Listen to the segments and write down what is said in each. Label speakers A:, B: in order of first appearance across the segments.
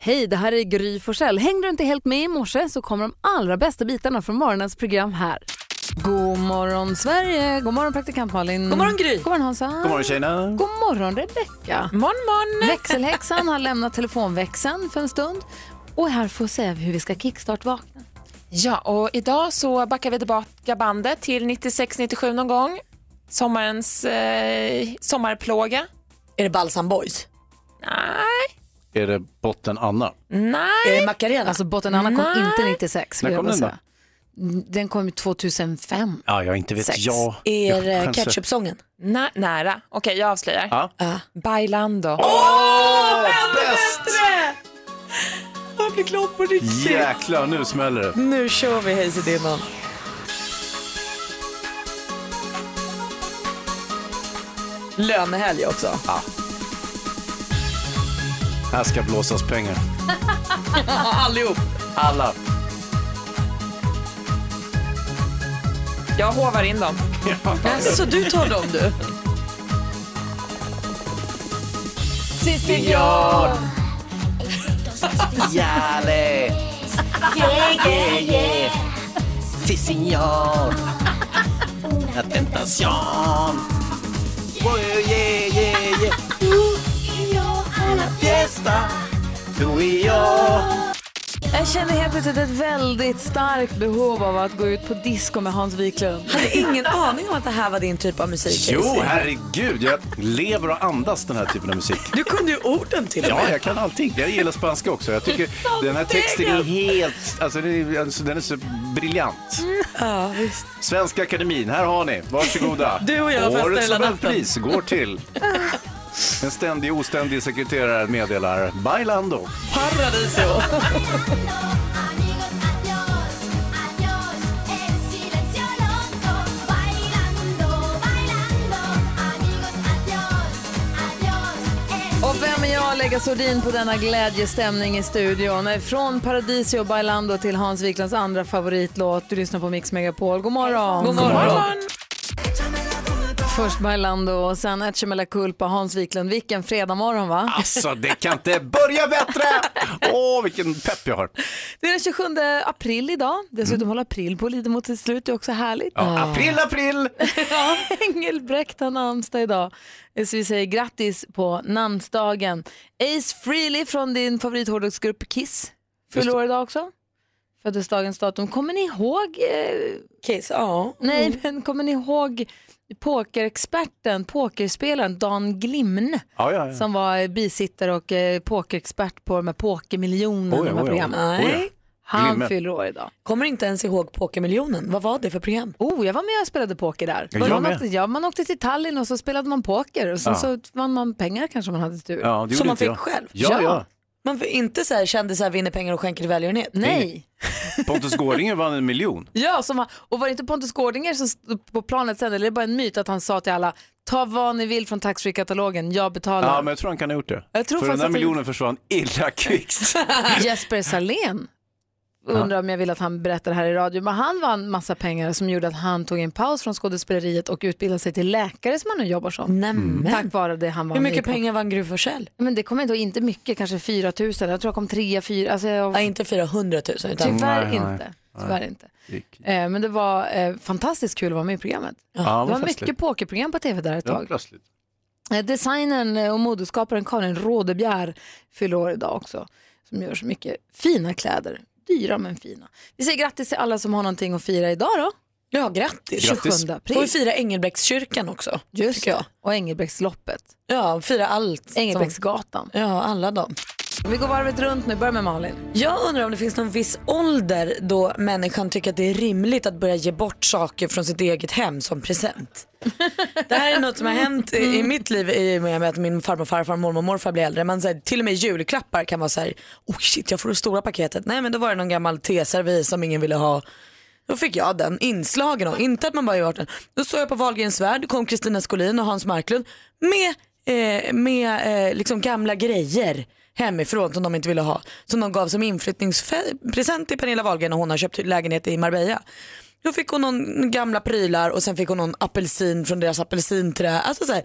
A: Hej, det här är Gry Forssell. Hängde du inte helt med i morse så kommer de allra bästa bitarna från morgonens program här. God morgon Sverige, god morgon praktikant Malin.
B: God morgon,
A: Gry. God morgon Hansa.
C: God morgon tjejerna.
A: God morgon Rebecka.
B: Morgon, morgon.
A: Växelhäxan har lämnat telefonväxeln för en stund och är här för att säga hur vi ska kickstart-vakna.
B: Ja, och idag så backar vi tillbaka bandet till 96-97 någon gång. Sommarens eh, sommarplåga.
D: Är det Balsam Boys?
B: Nej,
C: Är det botten Anna?
B: nej.
D: Är det Macarena?
A: Alltså botten Anna kom
B: Nej.
A: inte 96. vill
C: När
A: jag
C: kom
A: bara
C: den då?
A: säga. Mm, Den kom ju 2005.
C: Ja, jag inte vet
A: Sex.
C: jag.
D: är
C: Jag
D: det
C: kanske-
D: Ketchup-sången?
B: Nä, nära. Okej, jag avslöjar.
C: Ja.
D: Ja.
B: Bailando.
A: Oh!
C: Åh, bäst!
D: Jag blir glad på riktigt.
C: Jäklar, nu smäller det.
D: Nu kör vi Hayes i dimman. Lönehelg också.
C: Här ska blåsas pengar.
D: Allihop.
C: Alla.
B: Jag hovar in dem.
D: Så du tar dem du?
C: Jale! Yeah, yeah, yeah. Si, signor. La tentación. Oh, yeah, yeah, yeah. Fiesta. Du och jag.
A: Jag känner helt plötsligt ett väldigt starkt behov av att gå ut på disco med Hans Wiklund.
D: Jag hade ingen aning om att det här var din typ av musik.
C: Jo,
D: Hayes.
C: herregud. Jag lever och andas den här typen av musik.
D: Du kunde ju orden till och
C: Ja,
D: med.
C: jag kan allting. Jag gillar spanska också. Jag tycker den här texten är helt, alltså den är, alltså, den är så briljant.
D: Ja, visst.
C: Svenska Akademin, här har ni. Varsågoda.
D: Du och jag festar
C: Årets
D: hela natten.
C: Nobelpris går till. En ständig oständig sekreterare meddelar Bailando.
D: Paradiso.
E: Amigos, adiós, adiós, en silencio loco, bailando, bailando. Amigos, adiós, adiós, en
A: Och vem är jag att lägga sordin på denna glädjestämning i studion? Från Paradisio och Bailando till Hans Wiklunds andra favoritlåt. Du lyssnar på Mix Megapol. God morgon!
B: God morgon.
A: Först Bailando och sen Echemela Culpa, Hans Wiklund. Vilken fredagmorgon va?
C: Alltså, det kan inte börja bättre! Åh, vilken pepp jag har.
A: Det är den 27 april idag. Dessutom håller april på att lida mot sitt slut. Det är också härligt.
C: Ja, april, april!
A: Ja, Engelbrekt har namnsdag idag. Eh, Så vi säger grattis på namnsdagen. Ace Frehley från din favorithårdrocksgrupp Kiss fyller år idag också. Födelsedagens datum. Kommer ni ihåg, eh,
D: Kiss, ja. Mm.
A: nej men kommer ni ihåg pokerexperten, pokerspelaren Dan Glimne?
C: Ja, ja, ja.
A: Som var bisittare och eh, pokerexpert på de här pokermiljonerna, de
C: Oj,
A: här
C: oj, oj.
A: programmen.
D: Nej.
A: Han
C: Glimne.
A: fyller år idag.
D: Kommer inte ens ihåg Pokermiljonen. Vad var det för program?
A: Oh, jag var med och spelade poker där.
C: Ja,
A: Man,
C: jag med.
A: åkte, ja, man åkte till Tallinn och så spelade man poker och sen
C: Ja.
A: så vann man pengar kanske om man hade tur.
C: Ja, det gjorde
D: Som man
C: inte
D: fick
C: jag.
D: själv.
C: Ja, ja.
D: Man får inte så här, kändisar vinner pengar och skänker till välgörenhet.
C: Mm.
A: Nej.
C: Pontus Gårdinger vann en miljon.
A: Ja, som, han- och var det inte Pontus Gårdinger som stod på planet sen eller är det bara en myt att han sa till alla ta vad ni vill från taxfree-katalogen, jag betalar.
C: Ja, men jag tror han kan ha gjort det.
A: Jag tror
C: För den
A: faktiskt
C: där
A: att-
C: miljonen försvann illa kvickt.
A: Jesper Salén undrar om jag vill att han berättar här i radio, men han vann massa pengar som gjorde att han tog en paus från skådespeleriet och utbildade sig till läkare som han nu jobbar som.
D: Nämen.
A: Tack vare det han vann. i
D: Hur Mm. mycket
A: poker.
D: pengar vann Gry Forssell?
A: Men det kommer ändå inte mycket, kanske 4 000. Jag tror jag kom 3 4 alltså jag...
D: Ja, inte 400 000 utan
A: Tyvärr
C: Nej, nej,
A: inte. Tyvärr inte. Eh, men det var eh, fantastiskt kul att vara med i programmet.
C: Ja,
A: det var mycket pokerprogram på tv där ett tag.
C: plötsligt.
A: Eh, designern och modeskaparen Karin Rådebjer fyller år idag också. Som gör så mycket fina kläder. Dyra men fina. Vi säger grattis till alla som har någonting att fira idag då.
D: Ja, grattis.
A: 27
D: Får vi
A: april.
D: fira Engelbrektskyrkan också?
A: Just
D: tycker jag.
A: det. Och Engelbrektsloppet.
D: Ja, fira allt. som-
A: Engelbrektsgatan.
D: Ja, alla dem.
A: Vi går varvet runt nu. Börja med Malin.
D: Jag undrar om det finns någon viss ålder då människan tycker att det är rimligt att börja ge bort saker från sitt eget hem som present. Det här är något som har hänt i, i mitt liv i och med att min farmor, farfar, mormor och morfar blir äldre. Man, så här, till och med julklappar kan vara så här, oh shit jag får det stora paketet. Nej men då var det någon gammal teservis som ingen ville ha. Då fick jag den inslagen av, inte att man bara gjort den. Då står jag på Wahlgrens värld, kom Kristina Skolin och Hans Marklund med, eh, med eh, liksom gamla grejer hemifrån som de inte ville ha. Som de gav som inflyttningspresent till Pernilla Wahlgren när hon har köpt lägenhet i Marbella. Då fick hon någon gamla prylar och sen fick hon någon apelsin från deras apelsinträd. Alltså så här,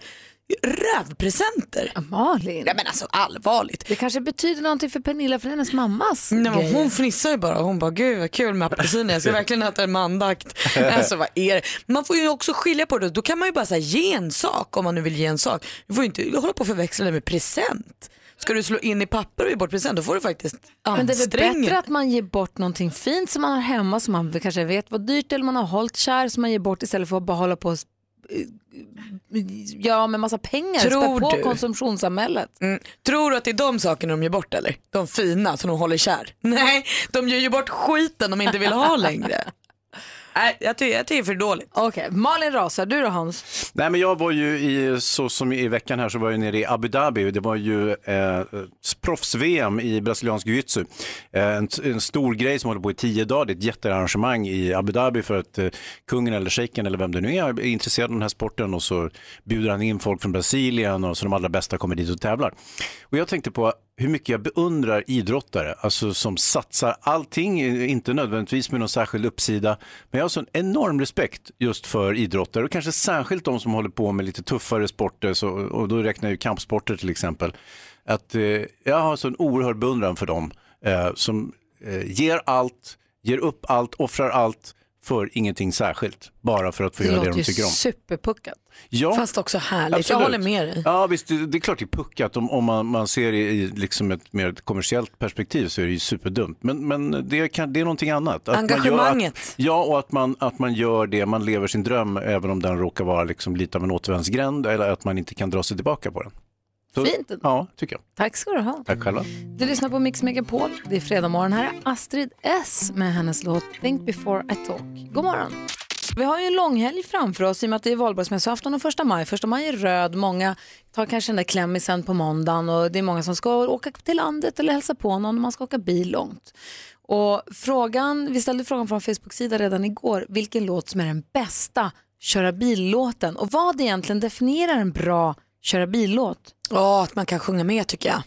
D: rövpresenter.
A: Malin.
D: Nej men alltså allvarligt.
A: Det kanske betyder någonting för Pernilla för hennes mammas
D: Nej, men
A: grejer.
D: hon fnissar ju bara. Hon bara, gud vad kul med apelsiner. Jag ska verkligen äta en med andakt. Alltså vad är det? Man får ju också skilja på det. Då kan man ju bara säga ge en sak om man nu vill ge en sak. Du får ju inte hålla på och förväxla det med present. Ska du slå in i papper och ge bort present då får du faktiskt
A: Men det är väl
D: anstränga
A: bättre
D: dig.
A: att man ger bort någonting fint som man har hemma som man kanske vet var dyrt eller man har hållit kär som man ger bort istället för att bara hålla på och eh, göra med massa pengar.
D: Tror
A: Spä på
D: du?
A: konsumtionssamhället.
D: Mm. Tror du att det är de sakerna de ger bort eller? De fina som de håller kär? Nej, de ger ju bort skiten de inte vill ha längre. Nej, jag tycker, jag tycker det är för dåligt.
A: Okej, Malin rasar. Du då Hans?
C: Nej, men jag var ju i, så som i veckan här, så var jag nere i Abu Dhabi. Det var ju eh, proffs-VM i brasiliansk jiu-jitsu. Eh, en, en stor grej som håller på i tio dagar. Det är ett jättearrangemang i Abu Dhabi för att eh, kungen eller shejken eller vem det nu är, är intresserad av den här sporten och så bjuder han in folk från Brasilien och så de allra bästa kommer dit och tävlar. Och jag tänkte på hur mycket jag beundrar idrottare, alltså som satsar allting, inte nödvändigtvis med någon särskild uppsida, men jag har sån enorm respekt just för idrottare och kanske särskilt de som håller på med lite tuffare sporter, så, och då räknar jag ju kampsporter till exempel, att eh, jag har sån oerhörd beundran för dem eh, som eh, ger allt, ger upp allt, offrar allt för ingenting särskilt, bara för att få göra det
A: låter
C: de
A: ju
C: tycker om.
A: superpuckat.
C: Ja.
D: Fast också härligt. Jag
C: Absolut.
D: håller med dig.
C: Ja, visst, det, det är klart det är puckat. Om, om man, man ser det i liksom ett mer ett kommersiellt perspektiv så är det ju superdumt. Men, men det, kan, det är någonting annat. Att man gör-
D: Engagemanget.
C: Ja, och att man, att man gör det, man lever sin dröm även om den råkar vara liksom lite av en återvändsgränd eller att man inte kan dra sig tillbaka på den. Så-
A: Fint.
C: Ja, tycker jag.
A: Tack ska du ha.
C: Tack själva.
A: Du lyssnar på Mix Megapol. Det är fredag morgon. Här är Astrid S med hennes låt Think before I talk. God morgon. Vi har ju en lång helg framför oss i och med att det är valborgsmässoafton och första maj. Första maj är röd, många tar kanske den där klämmisen på måndagen och det är många som ska åka till landet eller hälsa på någon och man ska åka bil långt. Och frågan, vi ställde frågan från Facebook-sida redan igår, vilken låt som är den bästa köra bil-låten och vad egentligen definierar en bra köra bil-låt?
D: Ja, att man kan sjunga med tycker jag.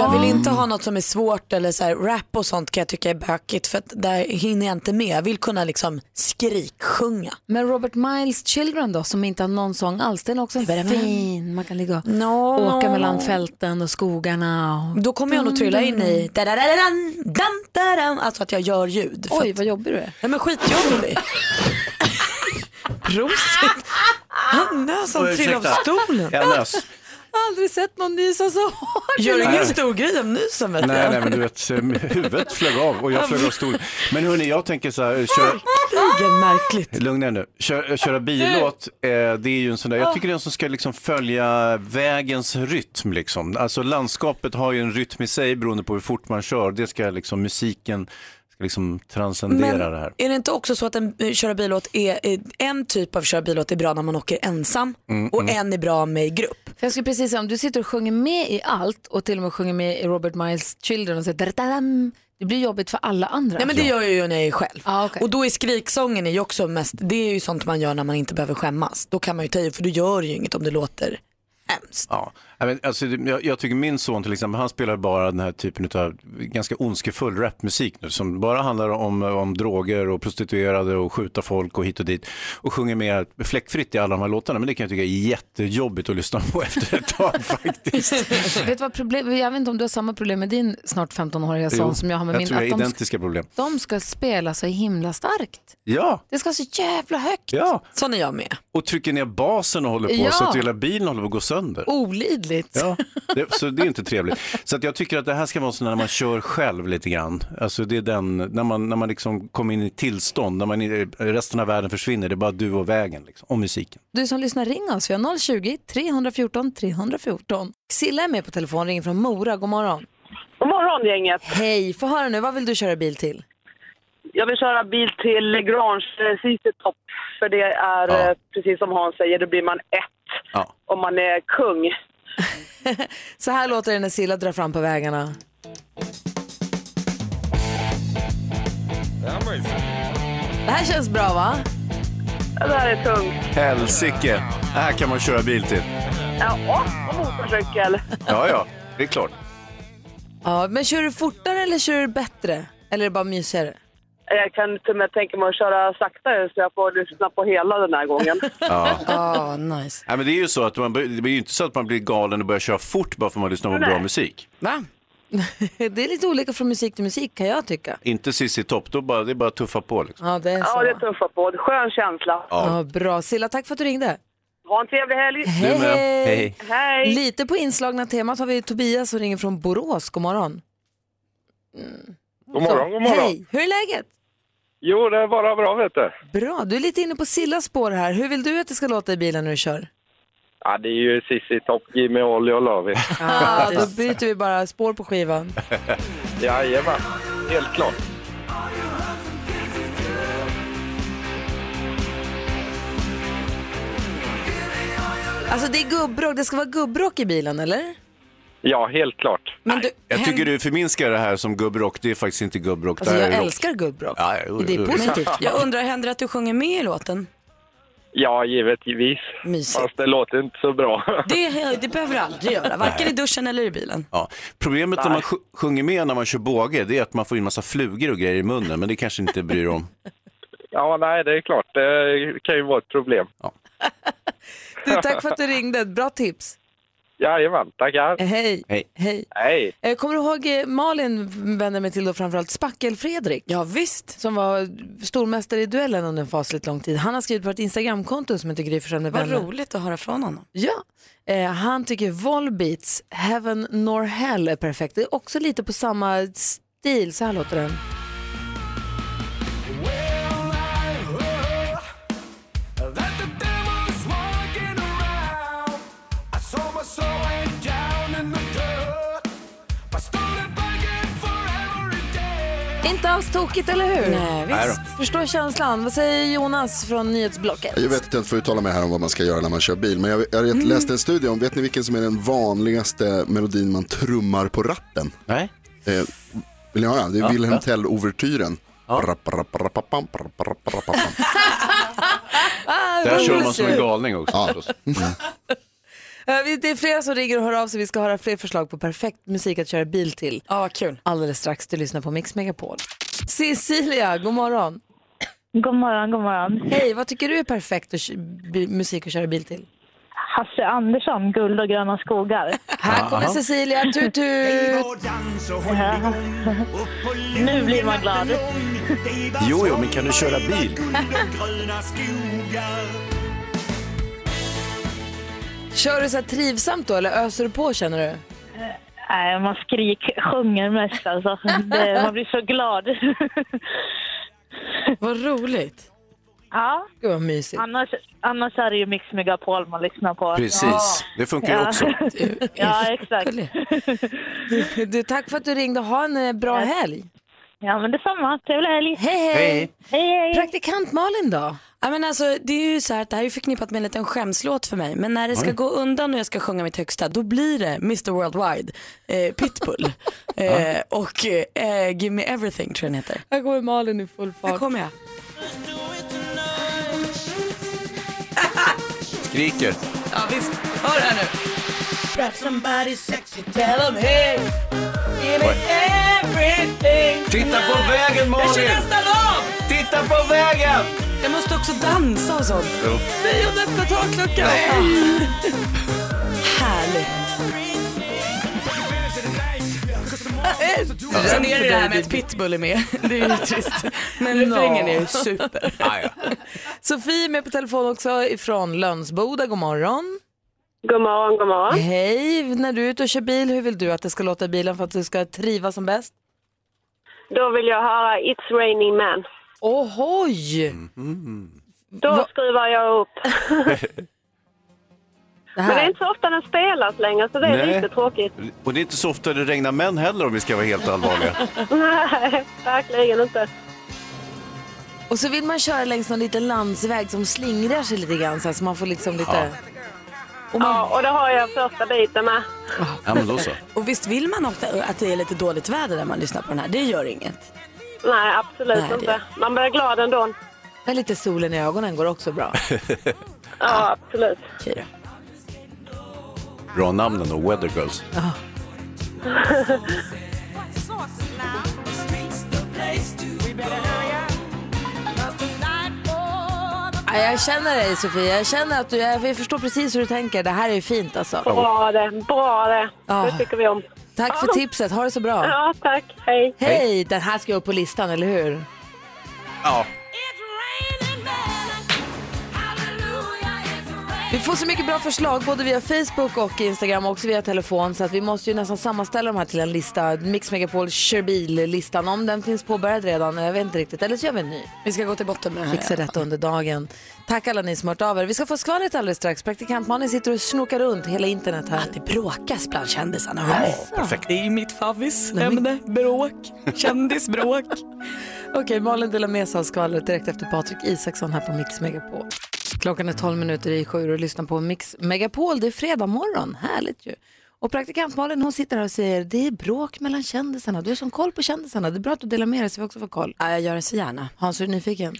D: Jag vill inte ha något som är svårt eller så här, rap och sånt kan jag tycka är bökigt för att där hinner jag inte med. Jag vill kunna liksom skriksjunga.
A: Men Robert Miles Children då, som inte har någon sång alls, den är också fin. Man kan ligga och
D: No,
A: åka mellan fälten och skogarna. Och...
D: Då kommer jag nog trilla in i dadadadadan, dan, dadan, alltså att jag gör ljud. För
A: Oj,
D: att,
A: vad jobbig du är.
D: nej men skitjobbig. Rosigt. Han nös som
C: Oj,
D: trillade av
C: ursäkta.
D: stolen.
C: Jag är lös.
A: Jag har aldrig sett någon nysa så hårt.
D: Gör ingen stor grej av nysen vet
C: Nej, nej,
D: jag.
C: men du vet, eh, huvudet flög av och jag flög av stolen. Men hörni, jag tänker så här, kör,
D: Verkligen märkligt.
C: Lugna er nu. Kör, köra billåt, eh, det är ju en sån där, jag tycker det är en som ska liksom följa vägens rytm liksom. Alltså landskapet har ju en rytm i sig beroende på hur fort man kör. Det ska liksom musiken, ska liksom transcendera
D: Men
C: det här.
D: är det inte också så att en eh, köra bilåt är, eh, en typ av köra bilåt är bra när man åker ensam och en är bra med i grupp?
A: För jag skulle precis säga, om du sitter och sjunger med i allt och till och med sjunger med i Robert Miles Children och säger dadadam, det blir jobbigt för alla andra.
D: Nej men det gör jag ju när jag är själv.
A: Ah, okej.
D: Och då är skriksången är ju också mest, det är ju sånt man gör när man inte behöver skämmas. Då kan man ju ta i för du gör ju inget om det låter hemskt.
C: Ja, Nej, men alltså, det- jag, jag tycker min son till exempel, han spelar bara den här typen av ganska ondskefull rapmusik nu som bara handlar om, om droger och prostituerade och skjuta folk och hit och dit och sjunger med fläckfritt i alla de här låtarna. Men det kan jag tycka är jättejobbigt att lyssna på efter ett tag faktiskt.
A: Vet du vad problem, jag vet inte om du har samma problem med din snart 15-åriga son som jag har med
C: jag
A: min.
C: tror jag är
A: att de,
C: identiska problem.
A: de ska spela så himla starkt.
C: Ja,
A: Det ska så jävla högt.
C: ja.
D: Sån är jag med.
C: Och trycker ner basen och håller på
A: Ja. Oh.
C: så att hela bilen håller på att gå sönder.
A: Olidligt.
C: Ja, det, så det är inte trevligt. Så att jag tycker att det här ska vara så när man kör själv lite grann. Alltså det är den, när man, när man liksom kommer in i ett tillstånd, när man, i- eh, resten av världen försvinner, det är bara du och vägen liksom, och musiken.
A: Du som lyssnar, ring oss. Vi har 020-314 314. Silla är med på telefon, ringer från Mora. God morgon.
F: God morgon gänget.
A: Hej, få höra nu. Vad vill du köra bil till?
F: Jag vill köra bil till Lagrange eh, City Top. För det är,
C: Ja.
F: eh, precis som Hans säger, då blir man ett
C: Ja.
F: om man är kung.
A: Så här låter det när Silla drar fram på vägarna. Det här känns bra, va?
F: Ja, Det här är tungt.
C: Helsike, här kan man köra bil till.
F: Ja, och- och motorcykel.
C: Ja, ja, det är klart.
A: Ja, men kör du fortare eller kör du bättre? Eller är det bara mysigare?
F: Jag kan till och med tänka mig att köra saktare så jag får lyssna på hela den här gången.
C: Ja.
D: Ah, nice.
C: Nej, men det är ju så att man, bör- det blir ju inte så att man blir galen och börjar köra fort bara för att man lyssnar på bra musik.
D: Va?
A: Det är lite olika från musik till musik kan jag tycka.
C: Inte Cissi Topp, då bara, det är bara att tuffa på liksom.
A: Ja, det är
F: Ja,
A: så.
F: det tuffar på. Skön känsla.
A: Ja, bra. Silla, tack för att du ringde.
F: Ha en trevlig helg.
G: Mm.
C: Du
A: Hej,
C: med.
A: hej.
C: Hej, hej.
F: Hej!
A: Lite på inslagna temat har vi Tobias som ringer från Borås. God morgon.
H: God morgon, god morgon.
A: Hej, hur är läget?
H: Jo, det är bara bra vet du.
A: Bra, du är lite inne på Sillas spår här. Hur vill du att det ska låta i bilen när du kör?
H: Ja, det är ju Cissi Topp, Jimmy, Olli och Lavi.
A: Ah, då byter vi bara spår på skivan.
H: Jajamän, helt klart.
A: Alltså det är gubbrock, det ska vara gubbrock i bilen eller?
H: Ja, helt klart.
D: Men du,
C: Jag tycker
D: Hen-
C: du förminskar det här som gubbrock, det är faktiskt inte gubbrock.
A: Alltså
C: det här
A: jag
C: är rock.
A: älskar gubbrock.
C: Ja, jo,
A: Det är
C: jo.
A: positivt.
D: jag undrar, händer det att du sjunger med i låten?
H: Ja, givetvis.
D: Mysigt.
H: Fast det låter inte så bra.
D: Det, det behöver du aldrig göra, varken i duschen eller i bilen.
C: Ja. Problemet när man sj- sjunger med när man kör båge, det är att man får in massa flugor och grejer i munnen, men det kanske inte bryr dig om.
H: Ja, nej, det är klart. Det kan ju vara ett problem.
A: Du, tack för att du ringde, Ett bra tips.
H: Jajamän, tackar.
A: Eh, Hej.
C: Hej.
A: Hej.
H: Hej!
A: Eh, Kommer du ihåg eh, Malin vänder mig till då framförallt Spackel-Fredrik?
D: Ja, visst.
A: Som var stormästare i duellen under en fasligt lång tid. Han har skrivit på ett Instagramkonto som heter Gry Forssell med
D: Vad
A: vänner.
D: roligt att höra från honom.
A: Ja, eh, han tycker Volbeats Heaven Nor Hell är perfekt. Det är också lite på samma stil. Så här låter den. Inte alls tokigt, eller hur?
D: Nej,
C: Nej
D: visst.
C: då.
A: Förstår känslan. Vad säger Jonas från nyhetsblocket?
I: Jag vet att jag inte får uttala mig här om vad man ska göra när man kör bil, men jag, jag läste en studie om, vet ni vilken som är den vanligaste melodin man trummar på ratten?
C: Nej.
I: Eh, vill ni höra? Det är Wilhelm Tell-ouvertyren. Rapp, rapp, rapp, rapp, rapp, rapp, rapp, rapp, rapp.
C: Där kör man som en galning också.
I: Ja.
A: Eh, vi- Det är flera som ringer och hör av sig. Vi ska höra fler förslag på perfekt musik att köra bil till.
D: Ja, vad kul.
A: Alldeles strax. Du lyssnar på Mix Megapol. Cecilia, god morgon.
G: God morgon, god morgon.
A: Hej, vad tycker du är perfekt att kö- bi- musik att köra bil till?
G: Hasse Andersson, Guld och gröna skogar.
A: Här kommer Cecilia. Tut, tut.
G: Nu blir man glad.
C: Jo, jo, men kan du köra bil?
A: Kör du så här trivsamt då eller öser du på känner du?
G: Nej, man skrik sjunger mest alltså. Det, man blir så glad.
D: Vad roligt.
G: Ja,
A: Gud vad mysigt.
G: annars, annars är det ju Mix Megapol man lyssnar på.
C: Precis, det funkar ju också.
G: Ja, exakt.
A: Du, tack för att du ringde. Ha en eh, bra helg.
G: Ja, men detsamma. Trevlig helg.
A: Hej, hej.
C: Hej.
G: Hej, hej.
A: Praktikant Malin då?
D: Ja, men alltså, det är ju så här att det här är ju förknippat med en liten skämslåt för mig. Men när det ska gå undan och jag ska sjunga mitt högsta, då blir det Mr Worldwide, eh, Pitbull eh, och eh, Give Me Everything tror jag den heter.
A: Här går Malin i full
D: Här
A: fart.
D: kommer jag.
C: Skriker.
D: Ja, visst. Hör det här nu.
C: Titta på vägen, Malin! Titta på vägen!
D: Jag måste också dansa och sånt.
C: Jo.
D: Nej, och detta takluckan. Härligt. Sen är det det här med att Pitbull är med. Det är ju trist. Men refrängen är ju super.
C: Ah, ja.
A: Sofie är med på telefon också ifrån Lönsboda. God morgon.
F: God morgon, god morgon.
A: Hej, när du är ute och kör bil, hur vill du att det ska låta i bilen för att du ska trivas som bäst?
F: Då vill jag höra It's raining man.
A: Ohoj!
F: Då skruvar jag upp.
A: Det
F: Men det är
A: här.
F: inte så ofta den spelas längre så det är
C: Nej.
F: lite tråkigt.
C: Och det är inte så ofta det regnar män heller om vi ska vara helt allvarliga.
F: Nej, verkligen inte.
A: Och så vill man köra längs någon liten landsväg som slingrar sig lite grann så, här, så man får liksom lite...
F: Ja, och det har jag första biten med.
C: Ja, men då så.
D: Och visst vill man ofta att det är lite dåligt väder när man lyssnar på den här. Det gör inget.
F: Nej, absolut
D: Nej, det-
F: inte. Man blir glad ändå.
A: Men lite solen i ögonen går också bra.
F: Ja, absolut.
D: Okej då.
C: Bra namn ändå, Weather Girls.
A: Ja, jag känner dig Sofia, jag känner att du, jag förstår precis hur du tänker. Det här är ju fint alltså.
F: Bra det, bra det.
A: Ah.
F: Det tycker vi om.
A: Tack för tipset, ha det så bra.
F: Ja, tack. Hej.
A: Hej, den här ska upp på listan, eller hur?
C: Ja.
A: Vi får så mycket bra förslag både via Facebook och Instagram och också via telefon så att vi måste ju nästan sammanställa de här till en lista. Mix Megapol Sherbil-listan, om den finns påbörjad redan, jag vet inte riktigt. Eller så gör vi en ny.
D: Vi ska gå till botten med det här.
A: Fixa detta under dagen. Tack alla ni som har hört av er. Vi ska få skvallret alldeles strax. Praktikant Malin sitter och snokar runt hela internet här.
D: Det bråkas bland kändisarna.
C: perfekt.
D: Det är mitt favvisämne. Bråk. Kändisbråk.
A: Okej, Malin delar med sig av skvallret direkt efter Patrik Isaksson här på Mix Megapol. Klockan är 12 minuter i sju och lyssnar på Mix Megapol. Det är fredag morgon, härligt ju. Och praktikant Malin hon sitter här och säger det är bråk mellan kändisarna. Du har sån koll på kändisarna. Det är bra att du delar med dig så vi också får koll.
D: Ja, jag gör det så gärna.
A: Hans, är du nyfiken?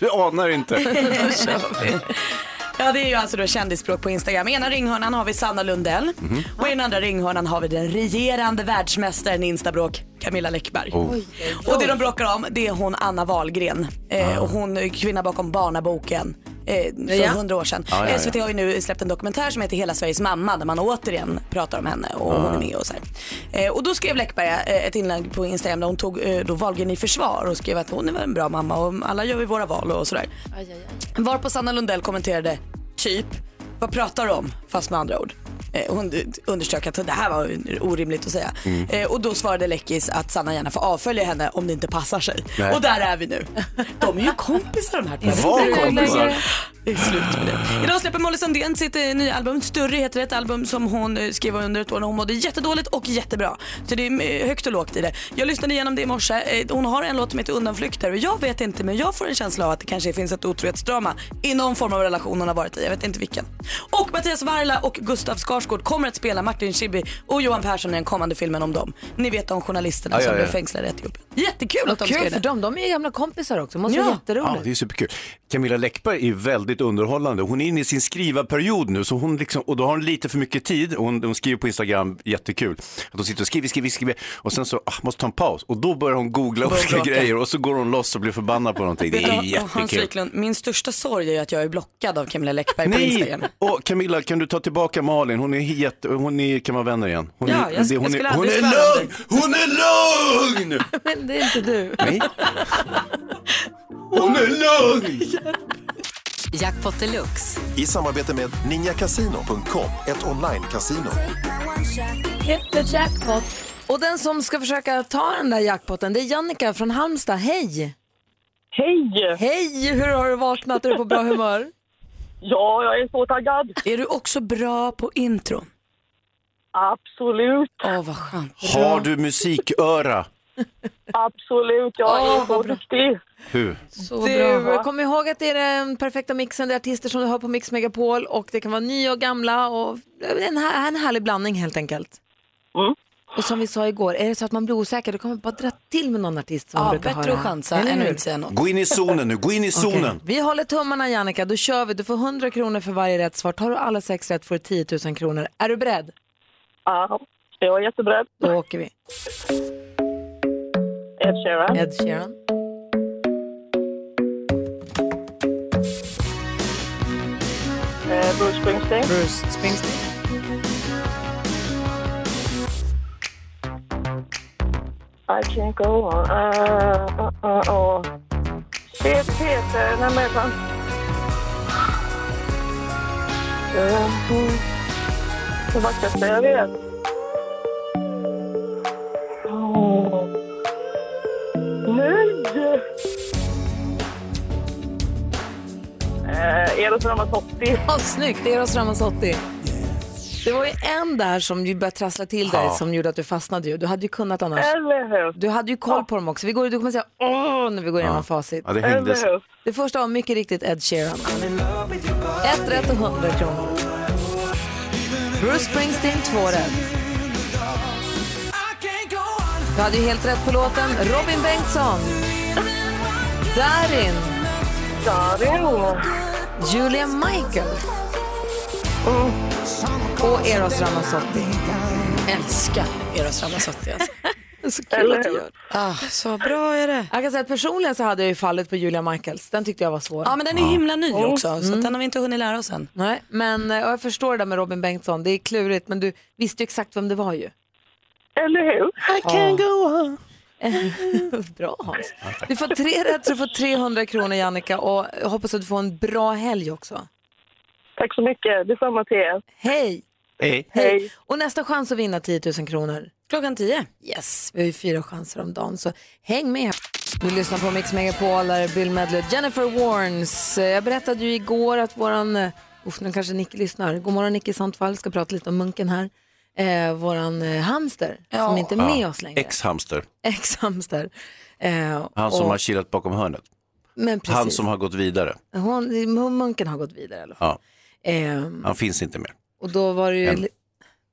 C: du anar inte.
D: Ja, det är ju alltså då kändisspråk på Instagram. I ena ringhörnan har vi Sanna Lundell
C: Mhm.
D: och i den andra ringhörnan har vi den regerande världsmästaren i instabråk, Camilla Läckberg.
C: Oh.
D: Och det de bråkar om, det är hon Anna Wahlgren. Eh, och hon är kvinna bakom Barnaboken. Eh, för
A: Ja.
D: hundra år sedan.
C: Ah. ja, ja.
D: SVT har ju nu släppt en dokumentär som heter Hela Sveriges mamma där man återigen pratar om henne och hon
C: Ah.
D: är med och så här. Eh, och då skrev Läckberg eh, ett inlägg på Instagram där hon tog eh, då Wahlgren i försvar och skrev att hon är väl en bra mamma och alla gör vi våra val och sådär. Varpå Sanna Lundell kommenterade typ, vad pratar du om? Fast med andra ord. Eh, Hon underströk att det här var ju orimligt att säga.
C: Mm.
D: Eh, Och då svarade Läckis att Sanna gärna får avfölja henne om det inte passar sig.
C: Nej.
D: Och där är vi nu. De är ju kompisar de här två.
C: Var kompisar.
D: Det är slut med det. Idag släpper Molly Sandén sitt eh, nya album. Större heter det, ett album som hon eh, skrev under ett år när hon mådde jättedåligt och jättebra. Så det är eh, högt och lågt i det. Jag lyssnade igenom det i morse. Eh, Hon har en låt som heter Undanflykter och jag vet inte men jag får en känsla av att det kanske finns ett otrohetsdrama i någon form av relation hon har varit i. Jag vet inte vilken. Och Mattias Varla och Gustav Skarsgård kommer att spela Martin Schibbye och Johan Persson i den kommande filmen om dem. Ni vet om journalisterna
C: Ja, ja,
D: som
C: ja.
D: blev fängslade i Etiopien. Jättekul att de ska
A: Kul
D: göra
A: för
D: det.
A: dem, de är ju gamla kompisar också. Måste vara
D: Ja.
A: jätteroligt.
C: Ja, det är superkul. Camilla Läckberg är väldigt underhållande. Hon är inne i sin skrivarperiod nu så hon liksom, och då har hon lite för mycket tid. Hon, hon skriver på Instagram, jättekul. Att hon sitter och skriver, skriver, skriver och sen så ah, måste ta en paus och då börjar hon googla olika
D: bråka.
C: grejer och så går hon loss och blir förbannad på någonting. Det
D: Vet du
C: är
D: vad, Hans
C: jättekul.
D: Wiklund, min största sorg är ju att jag är blockad av Camilla Läckberg på
C: Nej!
D: Instagram.
C: Och Camilla, kan du ta tillbaka Malin? Hon är jätte... Hon är... kan vara vänner igen. Hon
D: Ja,
C: är...
D: jag- jag
C: hon
D: skulle
C: är... Hon
D: aldrig
C: är
D: svära om
C: lugn! Hon är lugn!
A: Men det är inte du.
C: Nej. Hon är lugn!
J: Jackpot deluxe.
K: I samarbete med ninjakasino.com, ett online-casino.
A: Och den som ska försöka ta den där jackpotten, det är Jannica från Halmstad. Hej!
F: Hej!
A: Hej! Hur har du vaknat? Är du på bra humör?
F: Ja, jag är så taggad.
D: Är du också bra på intro?
F: Absolut,
D: Åh, vad skönt.
C: Har du musiköra?
F: absolut. Jag
A: Åh,
F: är så
A: vad bra.
F: duktig.
C: Hur?
A: Så du, bra. Kom ihåg att det är den perfekta mixen. Det är artister som du hör på Mix Megapol och det kan vara nya och gamla och eh, en, här, en härlig blandning helt enkelt.
F: Mm.
A: Och som vi sa igår, är det så att man blir osäker då kan man bara dra till med någon artist som man
D: Ja,
A: brukar höra.
D: bättre att chansa
A: Eller
D: än att
A: hur?
D: inte säga något.
C: Gå in i zonen nu, gå in i zonen.
A: Vi håller tummarna Jannica, då kör vi. Du får 100 kronor för varje rätt svar. Tar du alla sex rätt får du 10 000 kronor. Är du beredd?
F: Ja, jag är jätteberedd.
A: Då åker vi.
F: Ed Sheeran.
A: Ed Sheeran.
F: Eh, Bruce Springsteen.
A: Bruce Springsteen.
F: I can't go on. Uh, uh, uh, uh. Peter, Peter, nej men vad fan. Eh, mm. Det vackraste jag vet. Åh. Nej! Eh, Eros Ramazzotti.
A: Ja, snyggt, Eros Ramazzotti. Det var ju en där som ju började trassla till dig som gjorde att du fastnade ju. Du hade ju kunnat annars.
F: Eller hur?
A: Du hade ju koll på dem också. Vi går, du kommer säga åh när vi går igenom facit.
C: Ja, det hängde
F: Eller
C: sig.
F: hur?
A: Det första var mycket riktigt Ed Sheeran. Ett rätt och 100 kronor. Bruce Springsteen, två rätt. Du hade ju helt rätt på låten. Robin Bengtsson. Darin.
F: Darin.
A: Julia Michael. Och Eros Ramazzotti.
D: Älskar Eros Ramazzotti alltså.
A: Så kul att du gör.
D: Ah, så bra är det.
A: Jag kan säga att personligen så hade jag ju fallit på Julia Michaels. Den tyckte jag var svår.
D: Ja men den är himla ny också så att den har vi inte hunnit lära oss än.
A: Nej, men eh, och jag förstår det där med Robin Bengtsson. Det är klurigt, men du visste ju exakt vem det var ju.
F: Eller hur?
A: I can go on. bra Hans. Du får tre rätt så du får 300 kronor Jannica och jag hoppas att du får en bra helg också.
F: Tack så mycket. Detsamma till er.
A: Hej!
C: Hej.
F: Hej.
A: Och nästa chans att vinna 10 000 kronor.
D: Klockan tio.
A: Yes, vi har ju fyra chanser om dagen så häng med. Vi lyssnar på Mix Megapol, där är Bill Medley och Jennifer Warnes. Eh, Jag berättade ju igår att våran, eh, uff nu kanske Nicky lyssnar, god morgon Nicky Sandfall, ska prata lite om munken här. Eh, våran eh, hamster som inte är med oss längre.
C: Ex-hamster.
A: Ex-hamster. Eh,
C: Han som
A: och-
C: har kilat bakom hörnet.
A: men precis.
C: Han som har gått vidare.
A: Hon, hon, munken har gått vidare i alla fall.
C: Ja,
A: Ehm,
C: han finns inte mer.
A: och då var det ju...
C: En.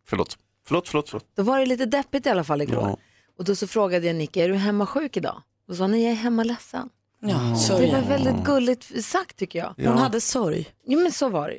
C: Förlåt. Förlåt, förlåt, förlåt.
A: Då var det lite deppigt i alla fall igår.
C: Ja.
A: Och då så frågade jag Nicky, är du hemma sjuk idag? Då sa han, nej jag är hemma ledsen.
D: Ja,
A: Det var
D: sorg.
A: väldigt gulligt sagt tycker jag.
D: Hon hade sorg.
A: Jo men så var det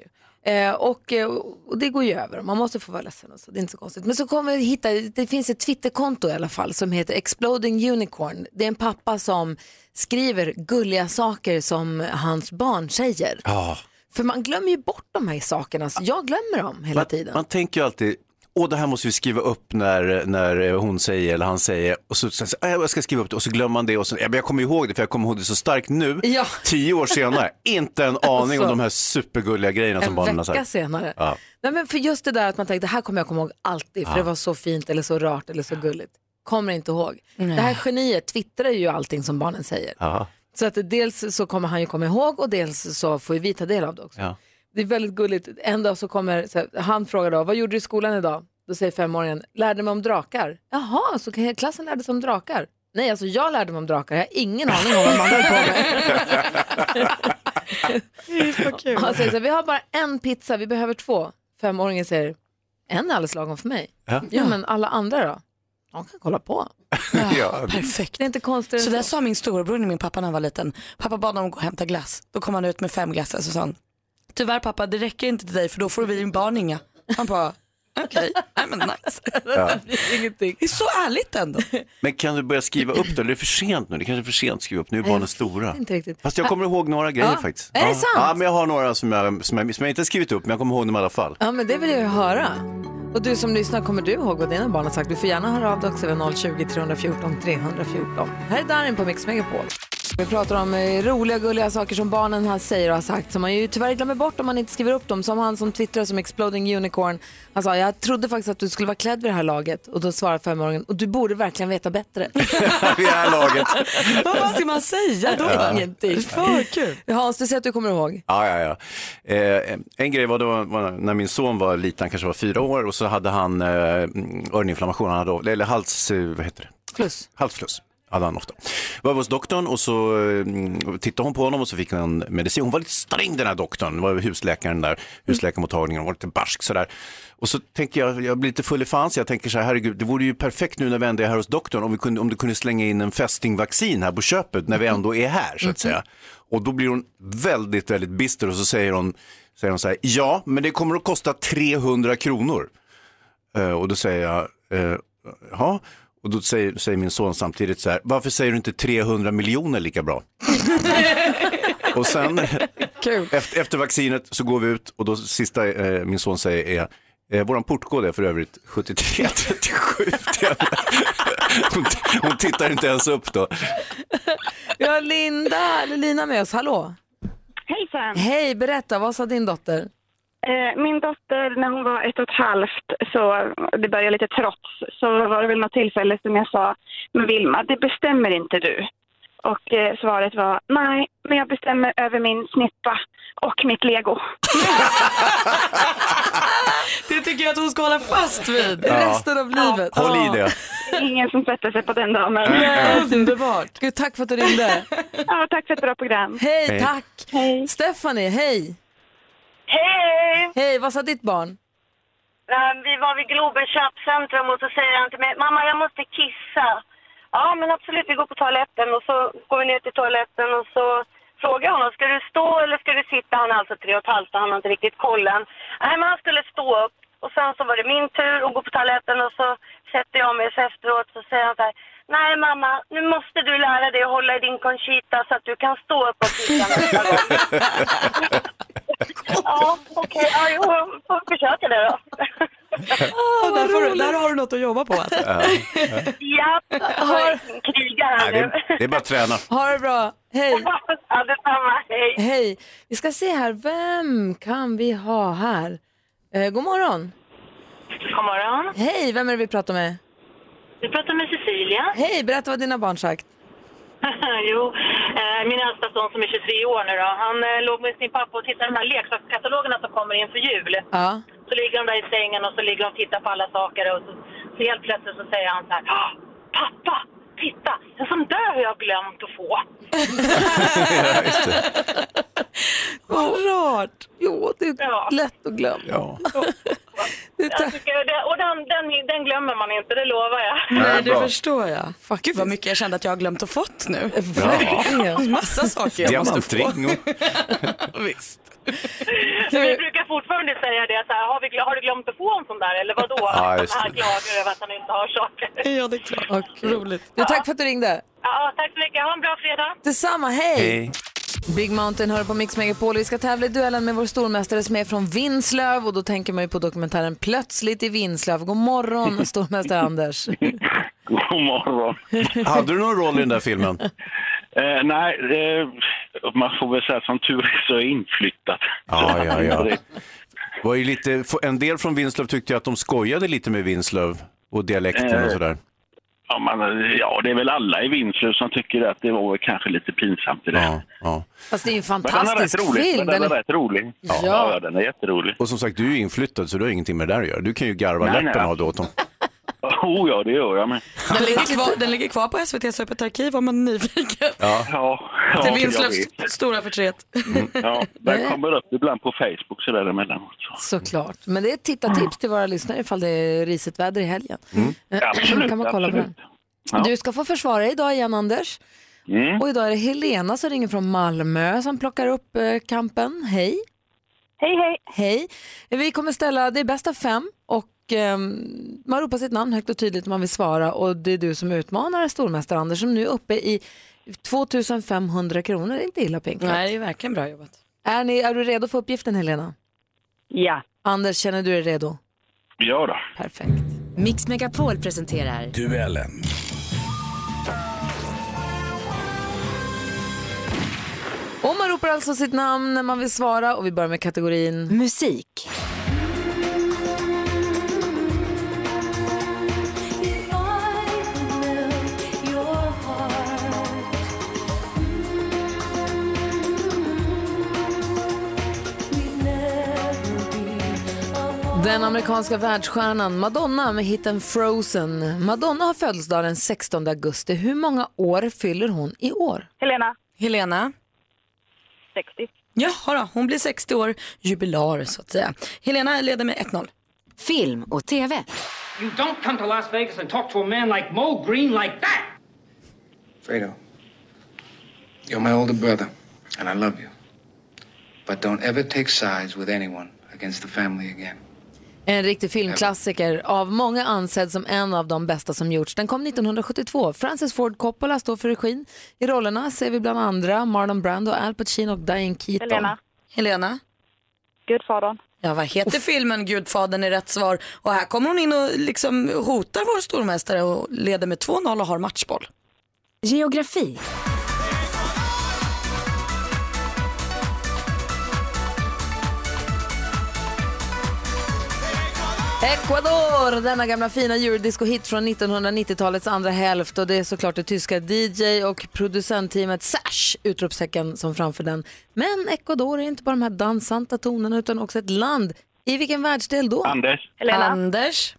A: ju. Eh, och, eh, och det går ju över, man måste få vara ledsen och så, det är inte så konstigt. Men så kommer jag hitta, det finns ett Twitterkonto i alla fall som heter Exploding Unicorn. Det är en pappa som skriver gulliga saker som hans barn säger.
C: Ja.
A: För man glömmer ju bort de här sakerna, så jag glömmer dem hela
C: Man,
A: tiden.
C: man tänker ju alltid, åh det här måste vi skriva upp när, när eh, hon säger eller han säger och så, så, så "Ah, jag ska skriva upp det och så glömmer man det och så, ja, men jag kommer ihåg det för jag kommer ihåg det så starkt nu,
A: Ja.
C: tio år senare, inte en aning
A: Alltså.
C: om de här supergulliga grejerna som barnen har
A: en vecka
C: sagt.
A: senare.
C: Ja.
A: Nej, men för just det där att man tänkte, det här kommer jag komma ihåg alltid, för det var så fint eller så rart eller så gulligt. Kommer inte ihåg. Det här geniet twittrar ju allting som barnen säger.
C: Ja.
A: Så att dels så kommer han ju komma ihåg och dels så får ju vi ta del av det också.
C: Ja.
A: Det är väldigt gulligt. En dag så kommer, så här, han frågar då, vad gjorde du i skolan idag? Då säger femåringen, lärde mig om drakar. Jaha, så kan- klassen lärde sig om drakar? Nej, alltså jag lärde mig om drakar, jag har ingen aning om vad man höll på med. Han säger så här, vi har bara en pizza, vi behöver två. Femåringen säger, en är alldeles lagom för mig.
C: Ja.
A: Jo, men alla andra då? De kan kolla på.
C: Ja.
D: Perfekt.
A: Det är inte konstigt.
D: Så där sa min storebror till min pappa när han var liten. Pappa bad honom gå och hämta glass. Då kom han ut med fem glassar så sa han, tyvärr pappa det räcker inte till dig för då får vi barn inga. Han bara, okej, nej men nice.
A: ingenting.
D: Det är så ärligt ändå.
C: Men kan du börja skriva upp det, eller är det för sent nu? Det kanske är för sent att skriva upp, nu är barnen stora.
A: Inte riktigt.
C: Fast jag kommer ihåg några grejer
A: Ja.
C: faktiskt.
A: Är det
C: ja.
A: sant?
C: Ja, men jag har några som jag, som jag, som jag inte har skrivit upp, men jag kommer ihåg dem i alla fall.
A: Ja, men det vill jag ju höra. Och du som lyssnar, kommer du ihåg vad dina barn har sagt? Du får gärna höra av dig också över 020 314 314. Här är Darin på Mix Megapol. Vi pratar om eh, roliga, gulliga saker som barnen här säger och har sagt som man ju tyvärr glömmer bort om man inte skriver upp dem. Som han som twittrar som Exploding Unicorn. Han sa, jag trodde faktiskt att du skulle vara klädd vid det här laget. Och då svarade femåringen, och du borde verkligen veta bättre.
C: Vid det här laget.
D: Vad fan ska man säga då?
A: Ingenting.
D: För kul.
A: Hans, du säger att du kommer ihåg.
C: Ja, ja, ja. Eh, en grej var då var när min son var liten, han kanske var fyra år, och så hade han eh, mm, öroninflammation, han hade, o- eller hals, eh, vad heter det?
A: Plus.
C: halsfluss. Hade han ofta. Var hos doktorn och så eh, mm, tittade hon på honom och så fick han medicin. Hon var lite sträng den här doktorn, Det var husläkaren där, husläkarmottagningen, hon var lite barsk sådär. Och så tänker jag, jag blir lite full i fansen, jag tänker så här, herregud, det vore ju perfekt nu när vi ändå är här hos doktorn om, vi kunde, om du kunde slänga in en fästingvaccin här på köpet när vi ändå är här så att säga. Och då blir hon väldigt, väldigt bister och så säger hon, säger hon så här, ja, men det kommer att kosta 300 kronor. Eh, Och då säger jag, eh, ja. Och då säger, säger min son samtidigt så här, varför säger du inte 300 miljoner lika bra? och sen efter, efter vaccinet så går vi ut och då sista eh, min son säger är, eh, våran portkod är för övrigt 7337. hon, hon tittar inte ens upp då.
A: Vi har Linda, eller Lina med oss, hallå.
F: Hejsan.
A: Hej, berätta, vad sa din dotter?
F: Eh, Min dotter, när hon var ett och ett halvt, så det började lite trots, så var det väl något tillfälle som jag sa, men Vilma, det bestämmer inte du. Och eh, svaret var, nej, men jag bestämmer över min snippa och mitt lego.
D: Det tycker jag att hon ska hålla fast vid.
C: Ja.
A: Resten av livet.
C: Håll i det.
F: Ingen som sätter sig på den damen.
D: Underbart.
A: Gud, tack för att du ringde.
F: Ja, tack för ett bra program.
A: Hej,
C: Hej.
A: tack.
F: Hej.
A: Stephanie, hej.
G: Hej!
A: Hej, vad sa ditt barn?
G: Eh, Vi var vid Globen köpcentrum och så säger han till mig, mamma jag måste kissa. Ja men absolut, vi går på toaletten och så går vi ner till toaletten och så frågar jag honom, ska du stå eller ska du sitta? Han är alltså tre och ett halvt och han har inte riktigt kollen. Nej men han skulle stå upp
F: Och sen så var det min tur att gå på toaletten och så sätter jag mig så efteråt så säger han så här. Nej mamma, nu måste du lära dig att hålla i din Conchita så att du kan stå upp och kissa nästa gång. ja, okej. Ja, jo, jag får försöka det då.
D: Och där, får du, där har du något att jobba på alltså.
C: Ja.
F: Ja, jag krigar här
C: Nej,
F: nu.
C: det, det är bara att träna.
A: Ha det bra. Hej.
F: Ja, detsamma. Hej.
A: Hej. Vi ska se här, vem kan vi ha här? Eh, god morgon.
F: God morgon.
A: Hej, vem är det vi pratar med?
F: Du pratar med Cecilia.
A: Hej, berätta vad dina barn sagt.
F: jo, eh, min äldsta son som är 23 år nu då, han eh, låg med sin pappa och tittade på de här leksakskatalogerna som kommer inför jul.
A: Ja.
F: Så ligger de där i sängen och så ligger de och tittar på alla saker och så, så helt plötsligt så säger han så här, "Ah, pappa, titta, en sån där har jag glömt att få.
A: Vad rart. Jo, det är
F: Ja.
A: lätt att glömma.
C: Ja.
A: Det är
F: Jag tycker det, och den, den, den glömmer man inte, det lovar jag.
C: Ja,
D: Nej, det
C: bra.
D: förstår jag. Gud vad mycket jag kände att jag har glömt att fått nu.
A: verkligen.
D: Massa saker jag måste få.
C: Diamantring. och-
D: Visst.
F: Vi brukar fortfarande säga det, så här, har, vi, glö- har du glömt att få en sån där eller vadå?
C: Ja, just det.
F: Han klagar över att han inte har saker.
D: Ja, det är klart.
A: Okej. Du, tack för att du ringde.
F: Ja, tack så mycket, ha en bra fredag.
A: Detsamma, hej.
C: Hej.
A: Big Mountain hör på Mix Megapol. Vi ska tävla i duellen med vår stormästare som är från Vinslöv och då tänker man ju på dokumentären Plötsligt i Vinslöv. God morgon stormästare Anders.
H: God morgon.
C: Hade du någon roll i den där filmen?
H: Eh, nej, eh, man får väl säga att som tur är så är jag inflyttad.
C: Ja, ja, ja. Det Var ju lite, en del från Vinslöv tyckte ju att de skojade lite med Vinslöv och
H: Eh.
C: dialekten och sådär.
H: Ja, man, ja, det är väl alla i Vinslöv som tycker att det var väl kanske lite pinsamt i det.
C: Ja, ja.
A: Fast det är ju en
H: Men den är rätt
A: fantastisk
H: rolig.
A: film.
H: Men den är
A: är-
H: rätt rolig.
A: Ja.
H: ja, den är jätterolig.
C: Och som sagt, du är ju inflyttad så du har ingenting med det där att göra. Du kan ju garva
H: Nej, nej,
C: läppen
H: ja.
C: av det åt dem.
H: Oh ja, det gör jag med.
D: Den ligger, kvar, den ligger kvar på SVTs öppet arkiv om man är nyfiken.
H: Ja, ja,
D: Det är
H: jag
D: Vinslövs
H: vet.
D: stora förtret.
H: Ja, den kommer upp ibland på Facebook sådär emellanåt. Så.
A: Såklart. Men det är ett tittartips till våra lyssnare ifall det är risigt väder i helgen.
H: Mm.
A: Eh,
H: Absolut,
A: Mm, kan man kolla på den.
H: absolut. Ja.
A: Du ska få försvara dig idag igen Anders.
H: Mm.
A: Och idag är det Helena som ringer från Malmö som plockar upp eh, kampen. Hej!
F: Hej, hej.
A: Hej! Vi kommer ställa, det är bäst av fem och ehm, man ropar sitt namn högt och tydligt om man vill svara och det är du som utmanar stormästare Anders som nu är uppe i 2500 kronor, det är inte illa pinkat.
D: Nej, det är verkligen bra jobbat.
A: Är, ni, är du redo för uppgiften Helena?
F: Ja.
A: Anders, känner du dig redo?
H: Ja, då.
A: Perfekt.
B: Mix Megapol presenterar
L: Duellen.
A: Och man ropar alltså sitt namn när man vill svara och vi börjar med kategorin
B: musik.
A: den amerikanska världsstjärnan Madonna med hiten Frozen. Madonna har födelsedag den 16 augusti. Hur många år fyller hon i år?
F: Helena,
D: Helena?
F: 60.
D: Jaha då, hon blir 60 år, jubilar så att säga. Helena leder med 1-0.
B: Film och TV.
M: You don't come to Las Vegas and talk to a man like Mo Green like that.
N: Fredo, you're my older brother, and I love you. But don't ever take sides with anyone against the family again.
A: En riktig filmklassiker, av många ansedd som en av de bästa som gjorts. Den kom 1972. Francis Ford Coppola står för regin. I rollerna ser vi bland andra Marlon Brando, Al Pacino och Diane Keaton.
F: Helena,
D: Helena?
F: Gudfadern.
D: Ja, vad heter filmen Gudfadern är rätt svar? Och här kommer hon in och liksom hotar vår stormästare och leder med 2-0 och har matchboll.
B: Geografi.
A: Ecuador, denna gamla fina eurodisco-hit från 1990-talets andra hälft och det är såklart det tyska DJ och producentteamet Sash, utropstecken, som framför den. Men Ecuador är inte bara de här dansanta tonerna utan också ett land. I vilken världsdel då?
H: Anders,
O: Ehm.
D: Anders?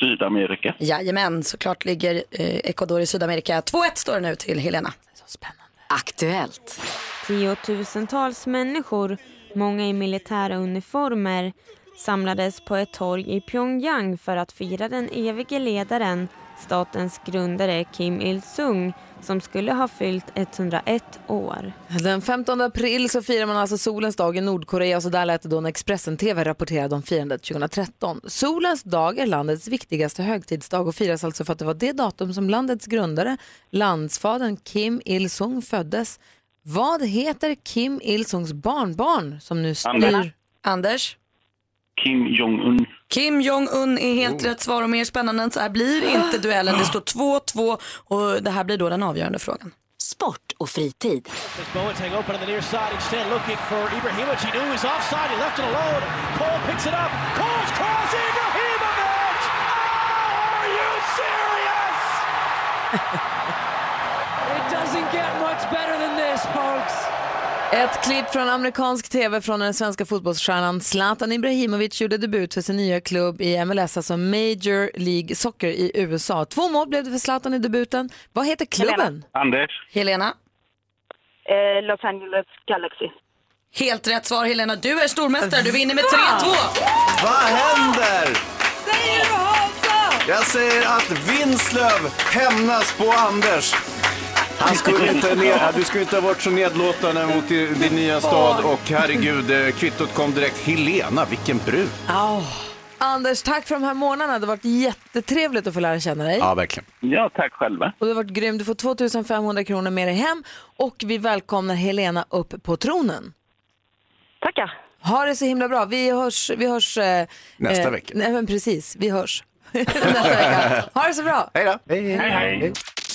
H: Sydamerika.
D: Jajamän, såklart ligger eh, Ecuador i Sydamerika. 2-1 står det nu till Helena.
A: Så spännande.
B: Aktuellt.
E: Tiotusentals människor, många i militära uniformer, samlades på ett torg i Pyongyang för att fira den evige ledaren
P: statens grundare Kim Il-Sung som skulle ha fyllt 101 år.
A: Den 15 april så firar man alltså solens dag i Nordkorea och så där lät det då när Expressen TV rapporterade om firandet 2013. Solens dag är landets viktigaste högtidsdag och firas alltså för att det var det datum som landets grundare, landsfadern Kim Il-Sung föddes. Vad heter Kim Il-Sungs barnbarn som nu styr?
H: Anders.
D: Anders?
H: Kim Jong-Un.
D: Kim Jong-Un är helt rätt svar och mer spännande än så här blir inte duellen. Det står 2-2 och det här blir då den avgörande frågan.
J: Sport och fritid.
Q: As Bowens hang open on the near side, instead looking for Ibrahimovic. He knew he was offside. He left it alone. Cole picks it up. Cole's cross. Ibrahimovic. Oh, are you serious?
R: It doesn't get much better than this, folks.
A: Ett klipp från amerikansk tv från den svenska fotbollsstjärnan Zlatan Ibrahimovic gjorde debut för sin nya klubb i MLS, alltså Major League Soccer i USA. Två mål blev det för Zlatan i debuten. Vad heter klubben?
H: Anders.
D: Helena?
G: Eh, Los Angeles Galaxy.
D: Helt rätt svar Helena. Du är stormästare, du vinner med 3-2.
S: Vad händer?
D: Säger du Hansa?
S: Jag säger att Vinslöv hämnas på Anders.
C: Han skulle inte ner, du skulle inte ha varit så nedlåtande mot i- din nya stad och herregud, eh, kvittot kom direkt. Helena, vilken brud.
A: Anders, tack för de här månaderna. Det har varit jättetrevligt att få lära känna dig.
C: Ja, verkligen.
H: Ja, tack själva.
A: Och du har varit grym. Du får 2500 kronor med dig hem och vi välkomnar Helena upp på tronen.
G: Tackar.
A: Ha det så himla bra. Vi hörs... Vi hörs eh,
C: Nästa vecka.
A: Nej, men precis. Vi hörs. Nästa vecka. Ha det så bra.
C: Hej då. Hej, hej.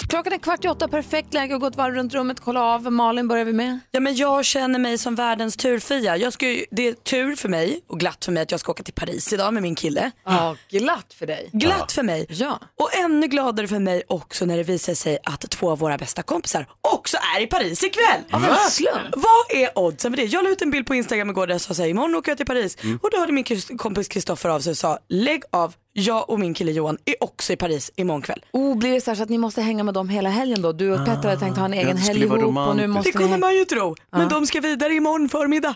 A: Klockan är kvart i åtta, perfekt läge att gå ett varv runt rummet, kolla av. Malin börjar vi med.
D: Ja, men jag känner mig som världens turfia. Jag ska ju, det är tur för mig och glatt för mig att jag ska åka till Paris idag med min kille.
A: Ja, glatt för dig.
D: Glatt för mig.
A: Ja.
D: Och ännu gladare för mig också när det visar sig att två av våra bästa kompisar också är i Paris ikväll.
A: Av en Va? slump.
D: Vad är oddsen för det? Jag la ut en bild på Instagram igår där jag sa så här, imorgon åker jag till Paris.
A: Mm.
D: Och då hörde min kris- kompis Kristoffer av sig och sa, lägg av, jag och min kille Johan är också i Paris imorgon kväll.
A: Oh, blir det så, här så att ni måste hänga med dem hela helgen då? Du och Petter hade tänkt
C: Ah,
A: ha en egen helg ihop och nu måste
D: det kunde
A: ni...
D: man ju tro. Men de ska vidare imorgon förmiddag.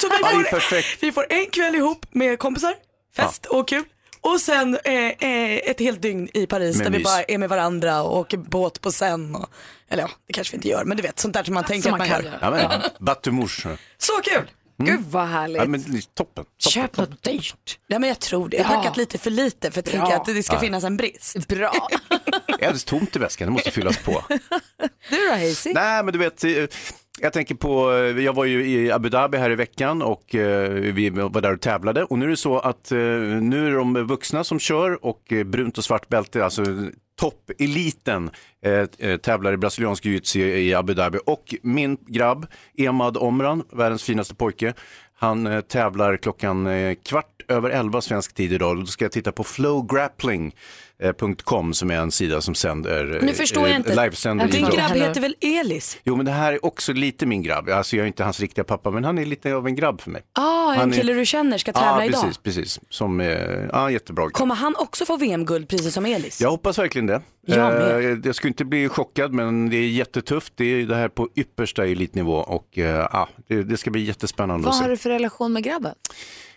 D: Så vi får, vi får en kväll ihop med kompisar, fest och kul. Och sen eh, eh, ett helt dygn i Paris
A: Med
D: där vi
A: mys.
D: bara är med varandra och åker båt på sen. Och, eller ja, det kanske vi inte gör, men du vet sånt där som man tänker
A: man
D: att man
A: kan
D: gör.
C: Ja, men, Batumouche.
D: Så kul!
A: Gud vad härligt.
C: Mm. Ja, men, toppen, toppen.
A: Köp något dyrt.
D: Ja men jag tror det. Jag har
A: Ja.
D: packat lite för lite för att tänka
A: Bra.
D: att det ska
C: Ja.
D: finnas en brist.
A: Bra.
C: Det är alldeles tomt i väskan, det måste fyllas på.
A: Du då Hazy?
C: Nej, men du vet, eh, jag tänker på, eh, jag var ju i Abu Dhabi här i veckan och eh, vi var där och tävlade och nu är det så att eh, nu är det de vuxna som kör och eh, brunt och svart bälte, alltså toppeliten eh, eh, tävlar i brasiliansk jiu-jitsu i i Abu Dhabi och min grabb Emad Omran, världens finaste pojke, han eh, tävlar klockan eh, kvart över elva svensk tid idag. Då ska jag titta på flowgrappling.com som är en sida som sänder eh,
D: Nu förstår jag
C: eh,
D: inte.
C: livesänder
D: Din
C: idrott.
D: grabb heter väl Elis?
C: Jo, men det här är också lite min grabb. Alltså, jag är inte hans riktiga pappa, men han är lite av en grabb för mig.
D: Ah, en
C: Han är-
D: kille du känner ska
C: ja,
D: tävla
C: precis,
D: idag.
C: precis. Som, eh, ja, jättebra. grabb.
D: Kommer han också få VM-guld precis som Elis?
C: Jag hoppas verkligen det.
D: Jag med.
C: eh, jag skulle inte bli chockad, men det är jättetufft. Det är det här på yppersta elitnivå och eh, ah, det, det ska bli jättespännande
A: Vad
C: att se.
A: har du för relation med grabben?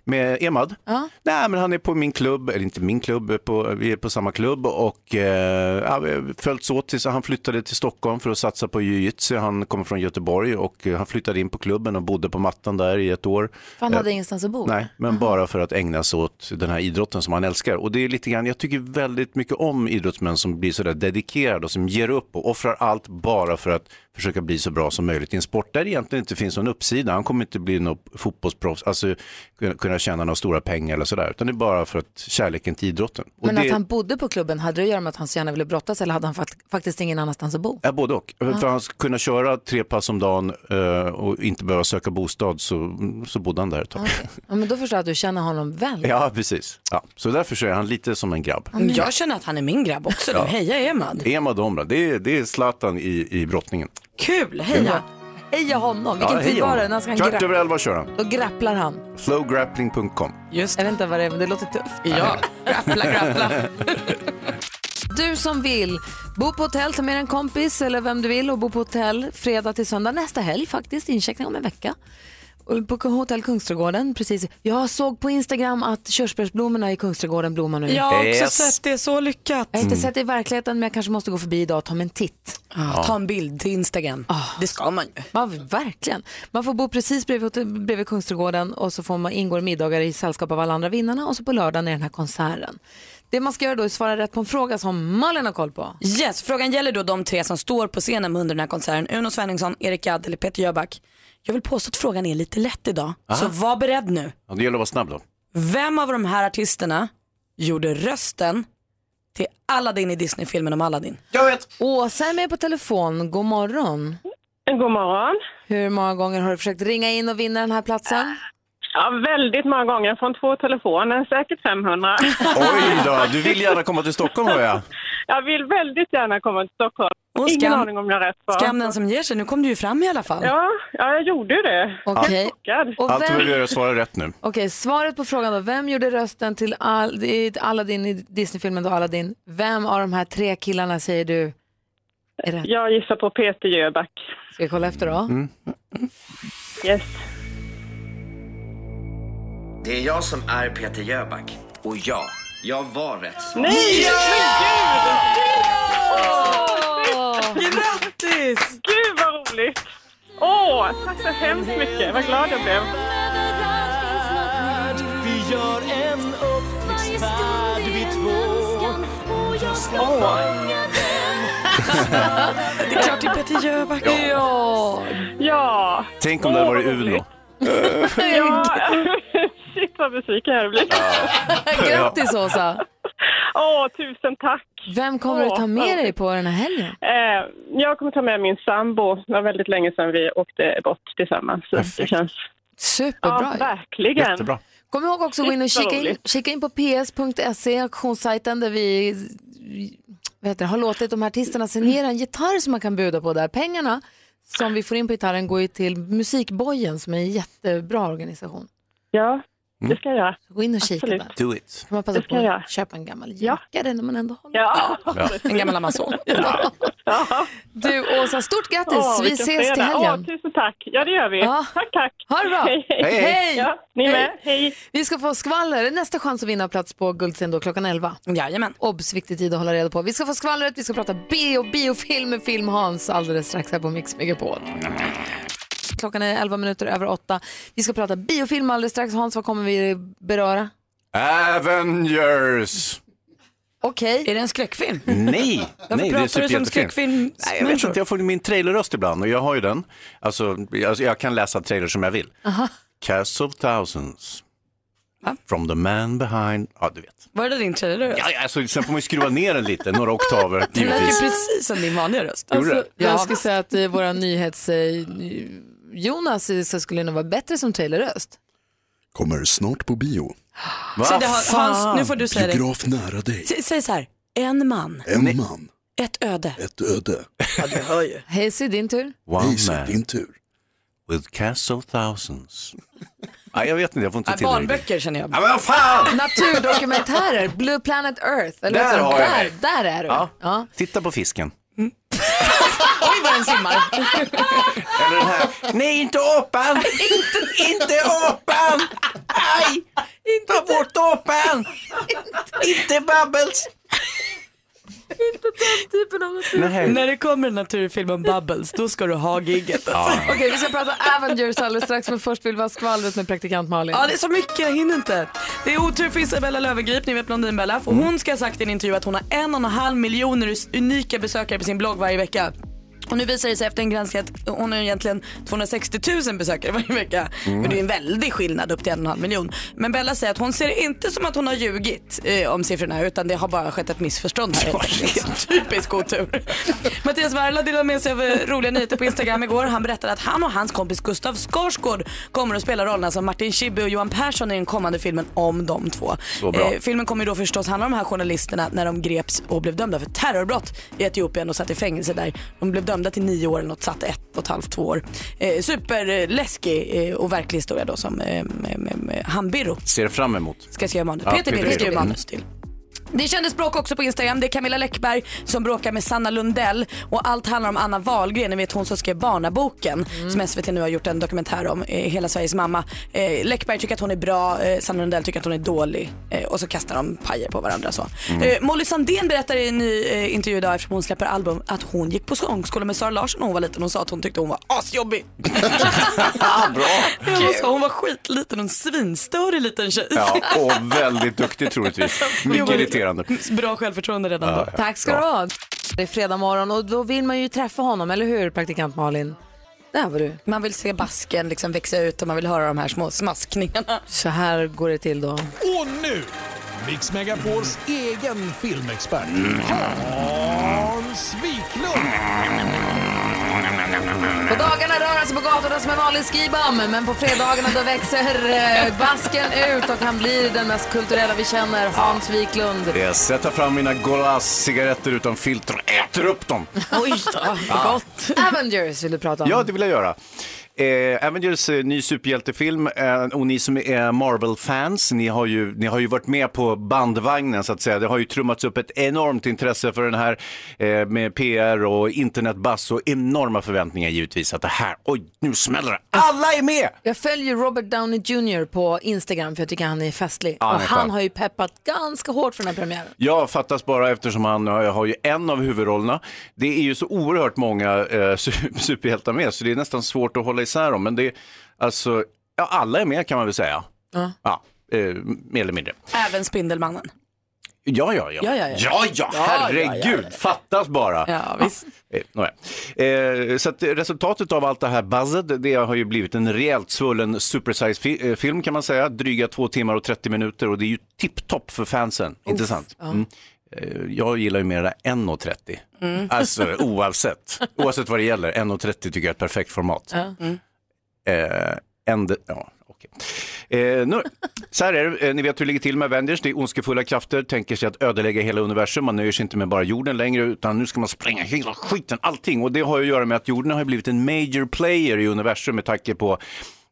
C: Med Emad?
A: Ja.
C: Nej, men han är på min klubb, eller inte min klubb, på, vi är på samma klubb och eh, ja, vi har följts åt tills han flyttade till Stockholm för att satsa på jiu-jitsu. Han kommer från Göteborg och eh, han flyttade in på klubben och bodde på mattan där i ett år.
A: För han
C: Eh,
A: hade ingenstans att bo.
C: Nej, men bara för att ägna sig åt den här idrotten som han älskar. Och det är lite grann, jag tycker väldigt mycket om idrottsmän som blir sådär dedikerade och som ger upp och offrar allt bara för att försöka bli så bra som möjligt i en sport där det egentligen inte finns någon uppsida. Han kommer inte bli någon fotbollsproffs, alltså kunna- kunna tjäna några stora pengar eller sådär, utan det är bara för att kärleken till idrotten. Och
A: Men
C: det-
A: att han bodde på klubben, hade det att göra med att han så gärna ville brottas eller hade han fakt- faktiskt ingen annanstans att bo?
C: Ja, både och. För han skulle kunna köra tre pass om dagen eh, och inte behöva söka bostad så, så bodde han där ett tag.
A: Ja, men då förstår jag att du känner honom väl.
C: Ja, precis. Ja. Så därför så är han lite som en grabb.
D: Men Jag känner att han är min grabb också nu.
C: Ja.
D: Heja Emad.
C: Emad Omra, det är, det är Zlatan i, i brottningen.
D: Kul,
A: heja. Heja honom. Vilken
C: Ja, hej
A: tid var
C: Omra.
A: det? När ska han
C: Kvart
A: grapp-
C: över elva kör han.
A: Då grapplar han.
C: Flowgrappling.com.
A: Just. Jag vet inte vad det är, men det låter tufft.
C: Ja.
A: grappla, Du som vill bo på hotell, ta med en kompis eller vem du vill och bo på hotell fredag till söndag nästa helg faktiskt, incheckning om en vecka. på Hotell Kungsträdgården precis. Jag såg på Instagram att körsbärsblommorna i Kungsträdgården blommar nu.
D: Jag har också Yes. sett det, så lyckat.
A: Jag har inte
D: Mm.
A: sett det i verkligheten men jag kanske måste gå förbi idag och ta mig en titt.
D: Ja. Ta en bild till Instagram.
C: Ah.
D: Det ska man ju.
A: Man, verkligen. Man får bo precis bredvid, hotell- bredvid Kungsträdgården och så får man ingå i middagar i sällskap av alla andra vinnarna och så på lördagen är den här konserten. Det man ska göra då är att svara rätt på en fråga som Malin har koll på.
D: Yes, frågan gäller då de tre som står på scenen under den här konserten. Uno Svenningsson, Erik Gadd eller Peter Jöback. Jag vill påstå att frågan är lite lätt idag,
C: Aha.
D: så var beredd nu.
C: Ja, det gäller att vara snabb då.
D: Vem av de här artisterna gjorde rösten till Aladdin i Disney-filmen om Aladdin?
C: Jag vet.
A: Åsa är med på telefon. God morgon.
O: God morgon.
A: Hur många gånger har du försökt ringa in och vinna den här platsen?
O: Ja, väldigt många gånger från två telefoner, säkert 500.
C: Oj då, du vill gärna komma till Stockholm hör jag.
O: Jag vill väldigt gärna komma till Stockholm.
D: Och
O: Ingen
D: skam-
O: aning om jag har rätt på.
D: Skam den som ger sig, nu kom du ju fram i alla fall.
O: Ja, ja jag gjorde ju det.
A: Okej. Och
C: Allt du
A: vem-
C: behöver göra är att svara rätt nu.
A: Okej, svaret på frågan då. Vem gjorde rösten till Al- i Aladdin i Disneyfilmen då Aladdin? Vem av de här tre killarna säger du är rätt?
O: Jag gissar på Peter Jöback.
A: Ska vi kolla efter då?
O: Yes.
T: Det är jag som är Peter Jöback. Och ja, jag var rätt svar.
O: Nej!
D: Grattis!
O: Gud vad roligt! Åh, tack så hemskt mycket. Vad glad jag blev.
Q: Vi gör en upptäcktsfärd vi två.
D: Det är klart det är Peter Jöback.
A: Ja.
O: Ja.
C: Tänk om det hade varit Uno.
O: ja. Shit vad besviken jag blir.
A: Grattis Åsa!
O: Åh, tusen tack.
A: Vem kommer du
O: Åh,
A: ta med
O: vad-
A: dig på den här helgen?
O: Eh, jag kommer ta med min sambo. Det var väldigt länge sedan vi åkte bort tillsammans. Så det känns...
A: Superbra
O: Ja, verkligen.
A: Jättebra. Kom ihåg också att gå in och
O: Shit, vad
A: kika in,
O: roligt.
A: kika in på ps.se, auktionssajten där vi vad heter det, har låtit de här artisterna signera en gitarr som man kan bjuda på där. Pengarna som vi får in på gitarren går ju till Musikbojen som är en jättebra organisation.
O: Ja,
A: Mm.
O: det ska jag göra.
A: Gå in och kika
O: Absolut.
A: där.
C: Do it.
A: Kan man passa
O: Det ska
A: på
O: jag.
A: att köpa en gammal jäkare när man ändå håller
O: ja.
C: Ja.
D: En gammal Amazon.
A: Du Åsa, stort grattis!
O: Åh,
A: vi
O: vilken
A: ses till
O: fredag.
A: helgen.
O: Åh, tusen tack. Ja, det gör vi. Tack, tack.
A: Ha det bra!
O: Hej, hej. Ja, ni med.
A: Hej. Vi ska få skvaller. Det är Nästa chans att vinna plats på Guldsen då klockan 11.
D: Jajamän.
A: Obs, viktig tid att hålla reda på. Vi ska få skvallret, vi ska prata bio, biofilm med Film-Hans alldeles strax här på Mix Megapol. Klockan är 11 minuter över 8. Vi ska prata biofilm alldeles strax. Hans, vad kommer vi beröra?
C: Avengers!
A: Okej.
D: Är det en skräckfilm?
C: Nej, nej det
D: pratar
C: är
D: du som
C: superjättefint.
D: skräckfilm?
C: Nej, jag vet inte, jag får min trailerröst ibland och jag har ju den. Alltså, jag, jag kan läsa trailer som jag vill.
D: Aha.
C: Cast of thousands. From the man behind, ja du vet.
D: Var det din trailer?
C: Ja, ja, alltså, sen får man ju skruva ner den lite, några oktaver
D: Det lät ju
C: givetvis.
D: precis som din vanliga röst. Alltså,
C: Gjorde det?
A: Jag skulle säga att eh, våra nyhets... Eh, Jonas eh, så skulle nog vara bättre som Taylor-röst.
I: Kommer snart på bio.
D: Va? Alltså, Så det Ah, har- Hans, nu får du säga det.
I: Biograf nära dig.
D: S- Säg så här, en man,
I: En man,
D: ett öde.
I: ett öde.
D: Ja, du hör ju.
A: Hej, så är din tur.
C: One
I: Nej, så
C: man.
I: din tur.
C: With cast of thousands. Nej, jag vet inte, jag får inte till det riktigt.
D: känner jag.
C: Ja, men vad fan!
A: Naturdokumentärer, Blue Planet Earth. Eller
C: Där
A: vad heter de?
C: har jag
A: där,
C: dig.
A: där är du.
C: Ja. Titta på fisken.
D: Oj, vad den simmar.
C: Eller den här. Nej, inte apan! inte, inte apan! Aj! Ta bort apan! inte Bubbles!
D: Inte den typen av
A: Nej.
D: När det kommer en naturfilm om Bubbles, då ska du ha gigget. alltså.
A: Ja. Okej, vi ska prata Avengers alldeles strax, men först vill vi ha skvallret med praktikant Malin.
D: Ja, det är så mycket, jag hinner inte. Det är otur för Isabella Löwengrip, ni vet Blondinbella. För hon ska ha sagt i en intervju att hon har en och en halv miljoner us- unika besökare på sin blogg varje vecka. Och nu visar det sig efter en granskning att hon har egentligen 260 000 besökare varje vecka.
J: Mm.
D: Men det är en väldig skillnad upp till en och en halv miljon. Men Bella säger att hon ser det inte som att hon har ljugit eh, om siffrorna utan det har bara skett ett missförstånd här. Typisk otur. Mattias Werla delade med sig av eh, roliga nyheter på Instagram igår. Han berättade att han och hans kompis Gustav Skarsgård kommer att spela rollerna som Martin Schibbye och Johan Persson i den kommande filmen om de två.
J: Så bra.
D: Eh, filmen kommer ju då förstås handla om de här journalisterna när de greps och blev dömda för terrorbrott i Etiopien och satt i fängelse där. De blev dömda till nio år och något satt ett och ett halvt, två år. Eh, superläskig eh, och verklig historia då som eh, med, med, med han Birro
C: Ser fram emot.
D: ska skriva manus.
C: Ja,
D: Peter Birro skriver manus till. Det kändes bråk också på Instagram. Det är Camilla Läckberg som bråkar med Sanna Lundell och allt handlar om Anna Wahlgren, ni vet hon som skrev Barnaboken
C: Mm.
D: som SVT nu har gjort en dokumentär om, eh, Hela Sveriges mamma. Eh, Läckberg tycker att hon är bra, eh, Sanna Lundell tycker att hon är dålig eh, och så kastar de pajer på varandra. Så.
E: Mm.
D: Eh, Molly Sandén berättar i en ny eh, intervju idag eftersom hon släpper album att hon gick på sångskola med Sara Larsson när hon var liten. Hon sa att hon tyckte hon var asjobbig. Ja, hon, sa, hon var skitliten, en svinstörig liten tjej.
C: Ja, och väldigt duktig troligtvis. Mycket irriterande.
D: Bra självförtroende redan
C: Ja,
D: då.
C: ja.
A: Tack ska du ha. Det är fredag morgon och då vill man ju träffa honom, eller hur praktikant Malin? Där var du.
D: Man vill se basken liksom växa ut och man vill höra de här små smaskningarna.
A: Så här går det till då.
U: Och nu, Mix Megapols egen filmexpert Hans Wiklund.
A: På dagarna rör han sig på gatorna som en vanlig skibam, men på fredagarna då växer eh, basken ut och han blir den mest kulturella vi känner, Hans Wiklund.
C: Yes, jag tar fram mina Golas-cigaretter utan filter och äter upp dem.
A: Oj då,
C: Ja.
A: gott. Avengers vill du prata om.
C: Ja, det vill jag göra. Eh, Avengers, eh, ny superhjältefilm eh, och ni som är Marvel-fans, ni, har ju- ni har ju varit med på bandvagnen så att säga. Det har ju trummats upp ett enormt intresse för den här eh, med PR och internetbass och enorma förväntningar givetvis att det här, oj, nu smäller det. Alla är med!
A: Jag följer Robert Downey Jr på Instagram för jag tycker han är festlig.
C: Ja, han
A: och
C: är
A: han
C: skön.
A: har ju peppat ganska hårt för den här premiären.
C: Ja, fattas bara eftersom han har har ju en av huvudrollerna. Det är ju så oerhört många eh, su- superhjältar med så det är nästan svårt att hålla isär dem. Men det är alltså, ja, alla är med kan man väl säga.
D: Ja.
C: Ja, eh, mer eller mindre.
D: Även Spindelmannen.
C: Ja, ja, ja.
D: Ja, ja, ja.
C: ja, ja
D: Ja,
C: herregud,
D: ja, ja,
C: fattas bara.
D: Ja, visst.
C: Eh, nåja. eh, så att eh, resultatet av allt det här buzzet, det har ju blivit en rejält svullen supersize fi- eh, film kan man säga. Dryga två timmar och 30 minuter och det är ju tipptopp för fansen. Intressant.
A: ja.
C: Mm. Eh, Jag gillar ju mer det där 1.30.
A: Mm.
C: Alltså oavsett, oavsett vad det gäller, 1.30 tycker jag är ett perfekt format.
A: Ja. Mm.
C: Eh, ände, ja, okej. eh, nu, så här är det, eh, ni vet hur det ligger till med Avengers. Det är ondskefulla krafter, tänker sig att ödelägga hela universum. Man nöjer sig inte med bara jorden längre, utan nu ska man spränga hela skiten, allting. Och det har ju att göra med att jorden har ju blivit en major player i universum med tanke på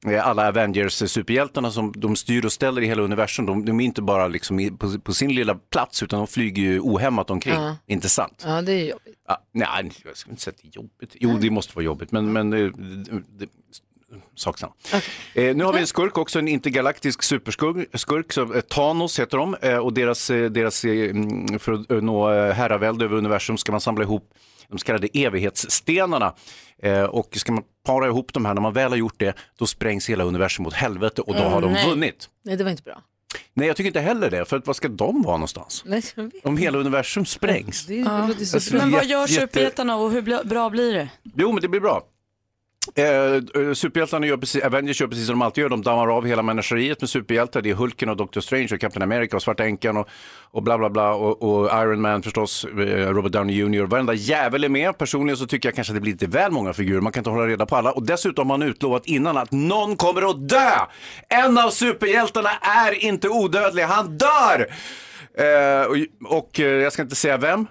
C: eh, alla Avengers-superhjältarna som de styr och ställer i hela universum, de, de är inte bara liksom i, på, på sin lilla plats utan de flyger ju ohämmat omkring.
A: Ja.
C: Inte sant?
A: Ja, det är ju jobbigt.
C: Ja, nej, jag skulle inte säga att det är jobbigt. Jo, det måste vara jobbigt, men, men det, det, sak samma. Eh, nu har vi en skurk också, en intergalaktisk superskurk, skurk, som, eh, Thanos heter de, eh, och deras, eh, deras, eh, mm, för att eh, nå eh, herravälde över universum ska man samla ihop de så kallade evighetsstenarna. Eh, och ska man para ihop de här, när man väl har gjort det, då sprängs hela universum åt helvete och då
A: Mm,
C: har de
A: nej.
C: vunnit.
A: Nej, det var inte bra.
C: Nej, jag tycker inte heller det, för att, vad ska de vara någonstans?
A: Nej, jag vet.
C: Om hela universum sprängs.
A: Det är- det låter så
C: Alltså,
A: dumt.
D: Men vad
C: jätte-
D: gör
C: jätte-
D: superhjältarna och hur bli- bra blir det?
C: Jo, men det blir bra. Eh, eh, superhjältarna gör precis, Avengers gör precis som de alltid gör, de dammar av hela människoriet med superhjältar. Det är Hulken och Doctor Strange och Captain America och Svarta Änkan och, och bla bla bla och, och Iron Man förstås, eh, Robert Downey Jr. Varenda jävel är med. Personligen så tycker jag kanske att det blir lite väl många figurer, man kan inte hålla reda på alla. Och dessutom har han utlovat innan att någon kommer att dö! En av superhjältarna är inte odödlig, han dör! Eh, och och eh, jag ska inte säga vem,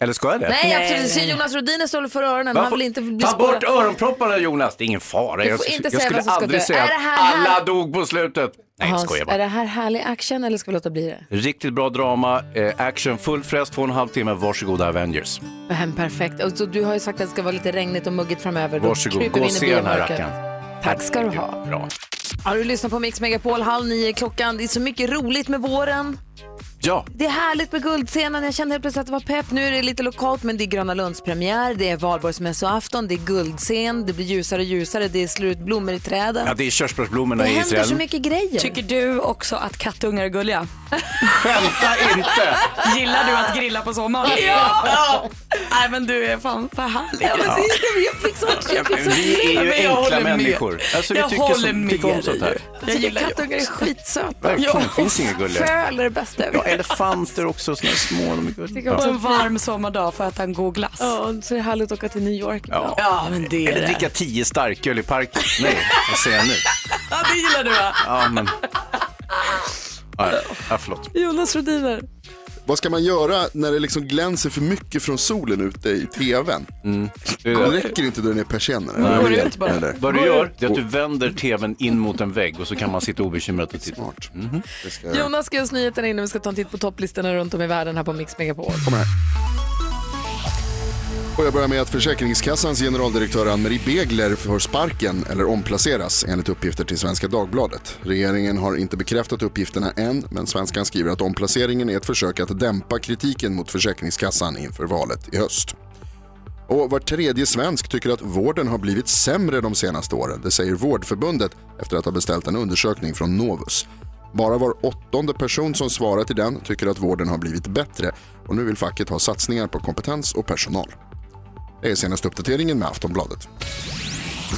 C: eller ska jag det?
A: Nej, absolut. Så Jonas Rhodiner står för öronen.
C: Man
A: Han
C: får-
A: vill inte bli
C: Ta
A: spårad.
C: bort öronpropparna Jonas, det är ingen fara.
A: Du får
C: Jag,
A: inte säga
C: jag skulle
A: vem som ska
C: aldrig
A: dö.
C: säga
A: Är
C: att
A: det här-
C: alla dog på slutet. Nej, jag
A: Hans,
C: skojar
A: Är
C: bara.
A: det här härlig action eller ska vi låta bli det?
C: Riktigt bra drama, eh, action, full fräs, två och en halv timme. Varsågoda Avengers.
A: Hem, perfekt. Och så, du har ju sagt att det ska vara lite regnigt och muggigt framöver. Då
C: Varsågod,
A: kryper
C: gå
A: vi
C: och
A: in i
C: se den här
A: bilmörkret.
C: rackaren.
A: Tack ska du ha.
C: Bra.
A: Ja, du lyssnar på Mix Megapol, halv nio är klockan. Det är så mycket roligt med våren.
C: Ja.
A: Det är härligt med guldscenen. Jag kände helt plötsligt att det var pepp. Nu är det lite lokalt, men det är Gröna Lunds premiär, det är valborgsmässoafton, det är guldscen, det blir ljusare och ljusare, det slår ut blommor i träden.
C: Ja, det är körsbärsblommorna
A: det
C: i
A: händer
C: Israel.
A: så mycket grejer.
D: Tycker du också att kattungar är gulliga?
C: Skämta inte!
D: Gillar du att grilla på sommaren?
E: Ja!
D: Nej men du är fan för härlig.
E: Ja, men det
D: jag fick sån
E: Ja, men
C: vi är ju
D: Men jag
C: enkla
D: håller med.
C: människor. Alltså, vi
D: jag
C: tycker
D: håller
C: som-
D: med
C: tycker om sånt här.
D: dig. Jag gillar ju
A: kattungar är skitsöta.
C: Verkligen, det finns inga gulliga.
A: Föl är det bästa jag vet.
C: Ja, elefanter också, såna här små. De är gulliga.
D: På en varm sommardag för att han god glass.
A: Ja, så är det härligt att åka till New York
C: Ja.
D: men det är
C: Eller
D: det.
C: dricka tio starköl i parken. Nej, vad säger jag nu?
D: Ja, det gillar du va?
C: Ja, men... Ja, ja, förlåt.
A: Jonas Rhodiner.
I: Vad ska man göra när det liksom glänser för mycket från solen ute i tvn?
C: Det är
I: Då
C: det.
I: räcker det inte att dra ner persiennerna.
C: Mm. Nej.
I: eller igen, eller?
C: Vad du gör det är att du vänder tvn in mot en vägg och så kan man sitta obekymrat och titta. Smart.
A: Jonas ska ge oss nyheterna innan vi ska ta en titt på topplistorna runt om i världen här på Mix Megapol.
I: Kom här. Och jag börjar med att Försäkringskassans generaldirektör Ann-Marie Begler får sparken eller omplaceras enligt uppgifter till Svenska Dagbladet. Regeringen har inte bekräftat uppgifterna än, men Svenskan skriver att omplaceringen är ett försök att dämpa kritiken mot Försäkringskassan inför valet i höst. Och var tredje svensk tycker att vården har blivit sämre de senaste åren. Det säger Vårdförbundet efter att ha beställt en undersökning från Novus. Bara var åttonde person som svarat i den tycker att vården har blivit bättre och nu vill facket ha satsningar på kompetens och personal. Det är senaste uppdateringen med Aftonbladet.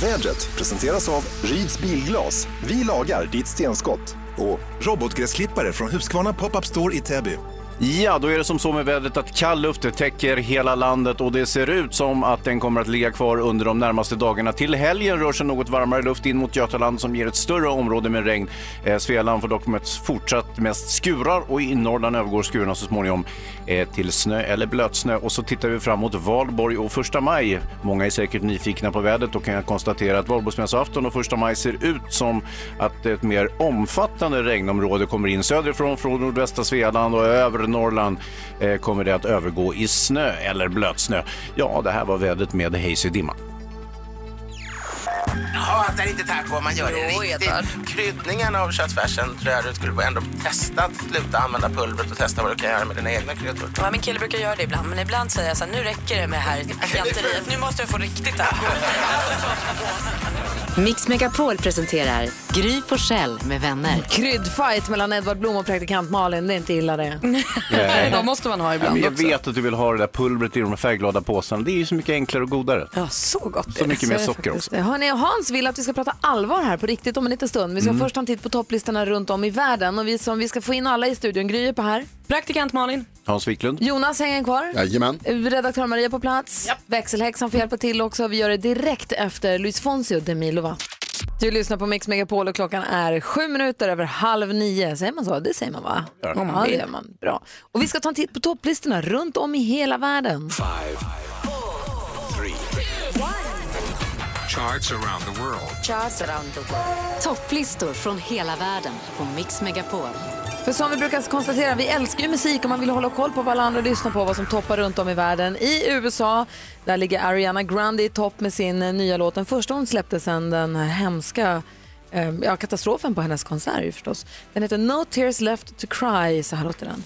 K: Vädret presenteras av Ryds Bilglas. Vi lagar ditt stenskott. Och robotgräsklippare från Husqvarna Pop-Up Store i Täby.
C: Ja, då är det som så med vädret att kall luft täcker hela landet och det ser ut som att den kommer att ligga kvar under de närmaste dagarna. Till helgen rör sig något varmare luft in mot Götaland som ger ett större område med regn. Eh, Svealand får dock med fortsatt mest skurar och i Norrland övergår skurarna så småningom eh, till snö eller blötsnö. Och så tittar vi framåt Valborg och första maj. Många är säkert nyfikna på vädret och kan jag konstatera att Valborgsmässoafton och första maj ser ut som att ett mer omfattande regnområde kommer in söderifrån från nordvästra Svealand och övre Norrland eh, kommer det att övergå i snö eller blötsnö. Ja, det här var vädret med hejs i dimma.
V: Ja, att det är inte taco om man gör det riktigt. Kryddningen av köttfärsen tror jag du skulle börja ändå testa att sluta använda pulvret och testa vad du kan göra med dina egna kryddor.
D: Ja, min kille brukar göra det ibland, men ibland säger jag så här, nu räcker det med det här klanteriet. Nu måste jag få riktigt taco.
J: Mix Megapol presenterar Gry Forssell med vänner.
A: Kryddfight mellan Edvard Blom och praktikant Malin, det är inte illa det.
C: Nej.
A: De måste man ha
C: Ja,
A: ibland
C: men jag
A: också.
C: vet att du vill ha det där pulvret i de färgglada påsarna. Det är ju så mycket enklare och godare.
A: Ja, så gott
C: Så mycket mer
A: är det
C: socker
A: faktiskt.
C: också.
A: Hörrni, Hans vill att vi ska prata allvar här på riktigt om en liten stund. Vi ska
C: Mm.
A: först ha en titt på topplistorna runt om i världen och vi, som, vi ska få in alla i studion. Gry är på här. Praktikant Malin.
C: Hans Wiklund.
A: Jonas hänger kvar.
I: Jajamän.
A: Redaktör Maria på plats. Växelhäxan får hjälpa till också. Vi gör det direkt efter Luis Fonsi och Demilova. Du lyssnar på Mix Megapol och klockan är sju minuter över halv nio. Säger man så? Det säger man va?
E: Ja.
A: Om man ja, det gör man. Bra. Och vi ska ta en titt på topplistorna runt om i hela världen.
E: Five, three,
W: Charts around the world.
J: Topplistor från hela världen på Mix Megapol.
A: För som vi brukar konstatera, vi älskar ju musik och man vill hålla koll på vad alla andra lyssnar på, vad som toppar runt om i världen. I USA, där ligger Ariana Grande i topp med sin eh, nya låt, den första hon släppte sedan den här hemska eh, ja, katastrofen på hennes konsert ju förstås. Den heter No Tears Left To Cry, så här låter den.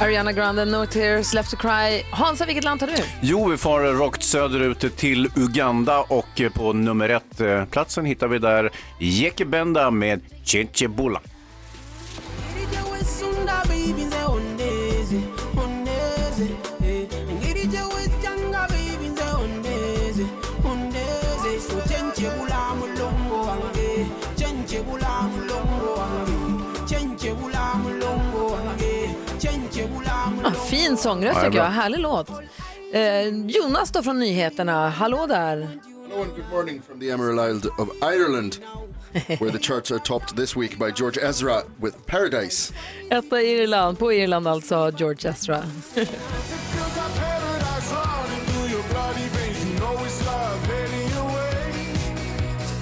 A: Ariana Grande, No Tears Left To Cry. Hansa, vilket land tar du?
C: Jo, vi far rakt söderut till Uganda och eh, på nummer ett eh, platsen hittar vi där Jekebenda med Chinchibula.
A: Ah, fin sångröst
E: Ja, det är
A: tycker jag,
E: bra.
A: härlig låt. Eh, Jonas då från nyheterna, hallå där.
I: Hello and good morning from the Emerald Isle of Ireland, where the charts are topped this week by George Ezra with Paradise.
A: Etta i Irland, på Irland alltså, George Ezra.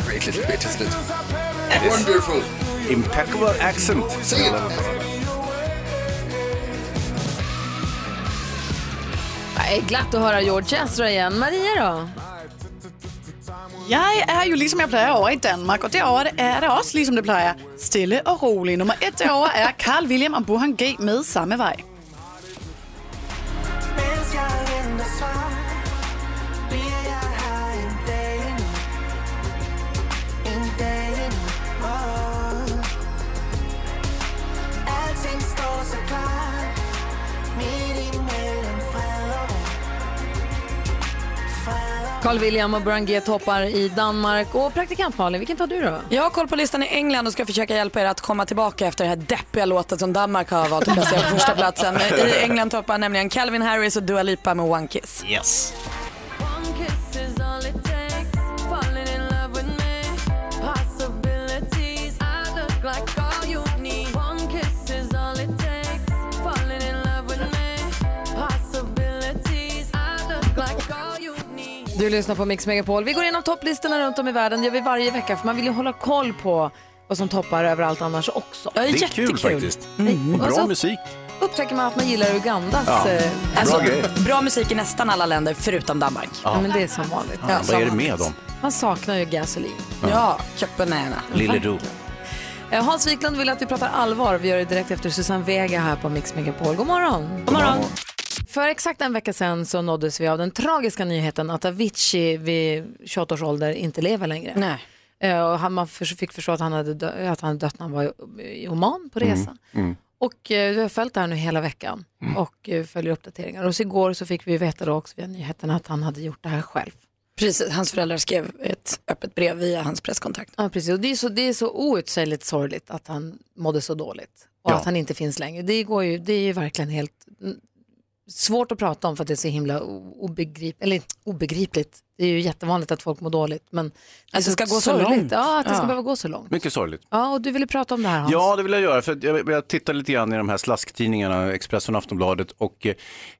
I: Great little bit, isn't it? Wonderful.
C: Impeccable accent.
I: Säg it.
A: Nej, glatt att höra George Ezra igen. Maria då?
X: Jeg er jo ligesom jeg plejer over i Danmark, og derovre er der også ligesom det plejer, stille og roligt. Nummer et derovre er Carl William og Burhan G. med samme vej.
A: Carl William och Burangier toppar i Danmark. Och praktikant Malin, vilken tar du då?
D: Jag har koll på listan i England och ska försöka hjälpa er att komma tillbaka efter den här deppiga låten som Danmark har valt att placera på första platsen. I England toppar nämligen Calvin Harris och Dua Lipa med One Kiss.
C: Yes.
A: Du lyssnar på Mix Megapol. Vi går igenom topplistorna runt om i världen. Det gör vi varje vecka för man vill ju hålla koll på vad som toppar överallt annars också.
C: det är Alltså- kul faktiskt.
A: Mm.
C: Och bra
A: Och så-
C: musik.
A: Upptäcker man att man gillar Ugandas...
C: Ja.
A: eh,
C: Bra
D: Alltså,
C: grej.
D: bra musik i nästan alla länder förutom Danmark.
A: Ja. men det är som vanligt.
C: Ja, vad är det med dem?
A: Man saknar ju gasolin.
D: Ja, Köpenhamn.
C: Lille Do.
A: Eh, Hans Wiklund vill att vi pratar allvar. Vi gör det direkt efter Susanne Vega här på Mix Megapol. God morgon! God morgon! För exakt en vecka sedan så nåddes vi av den tragiska nyheten att Avicii vid 28 års ålder inte lever längre.
D: Nej.
A: Eh, Och han, man förs- fick förstå att han hade dö- att han hade dött när han var i- i Oman på resa. Och eh, vi har följt det här nu hela veckan och eh, följer uppdateringar. Och så igår så fick vi veta då också via nyheterna att han hade gjort det här själv.
D: Precis, hans föräldrar skrev ett öppet brev via hans presskontakt.
A: Ja, precis. Och det är så, det är så outsägligt sorgligt att han mådde så dåligt och
D: Ja.
A: att han inte finns längre. Det, går ju, det är ju verkligen helt mm, svårt att prata om för att det är så himla o- obegrip, eller, obegripligt. Det är ju jättevanligt att folk mår dåligt. Men det är
D: Att det ska gå så
A: sorgligt.
D: långt.
A: Ja, att det ska
D: Ja.
A: behöva gå så långt.
C: Mycket sorgligt.
A: Ja, och du ville prata om det här Hans.
C: Ja, det vill jag göra. För att jag, jag tittar lite grann i de här slasktidningarna, Expressen och Aftonbladet. Och,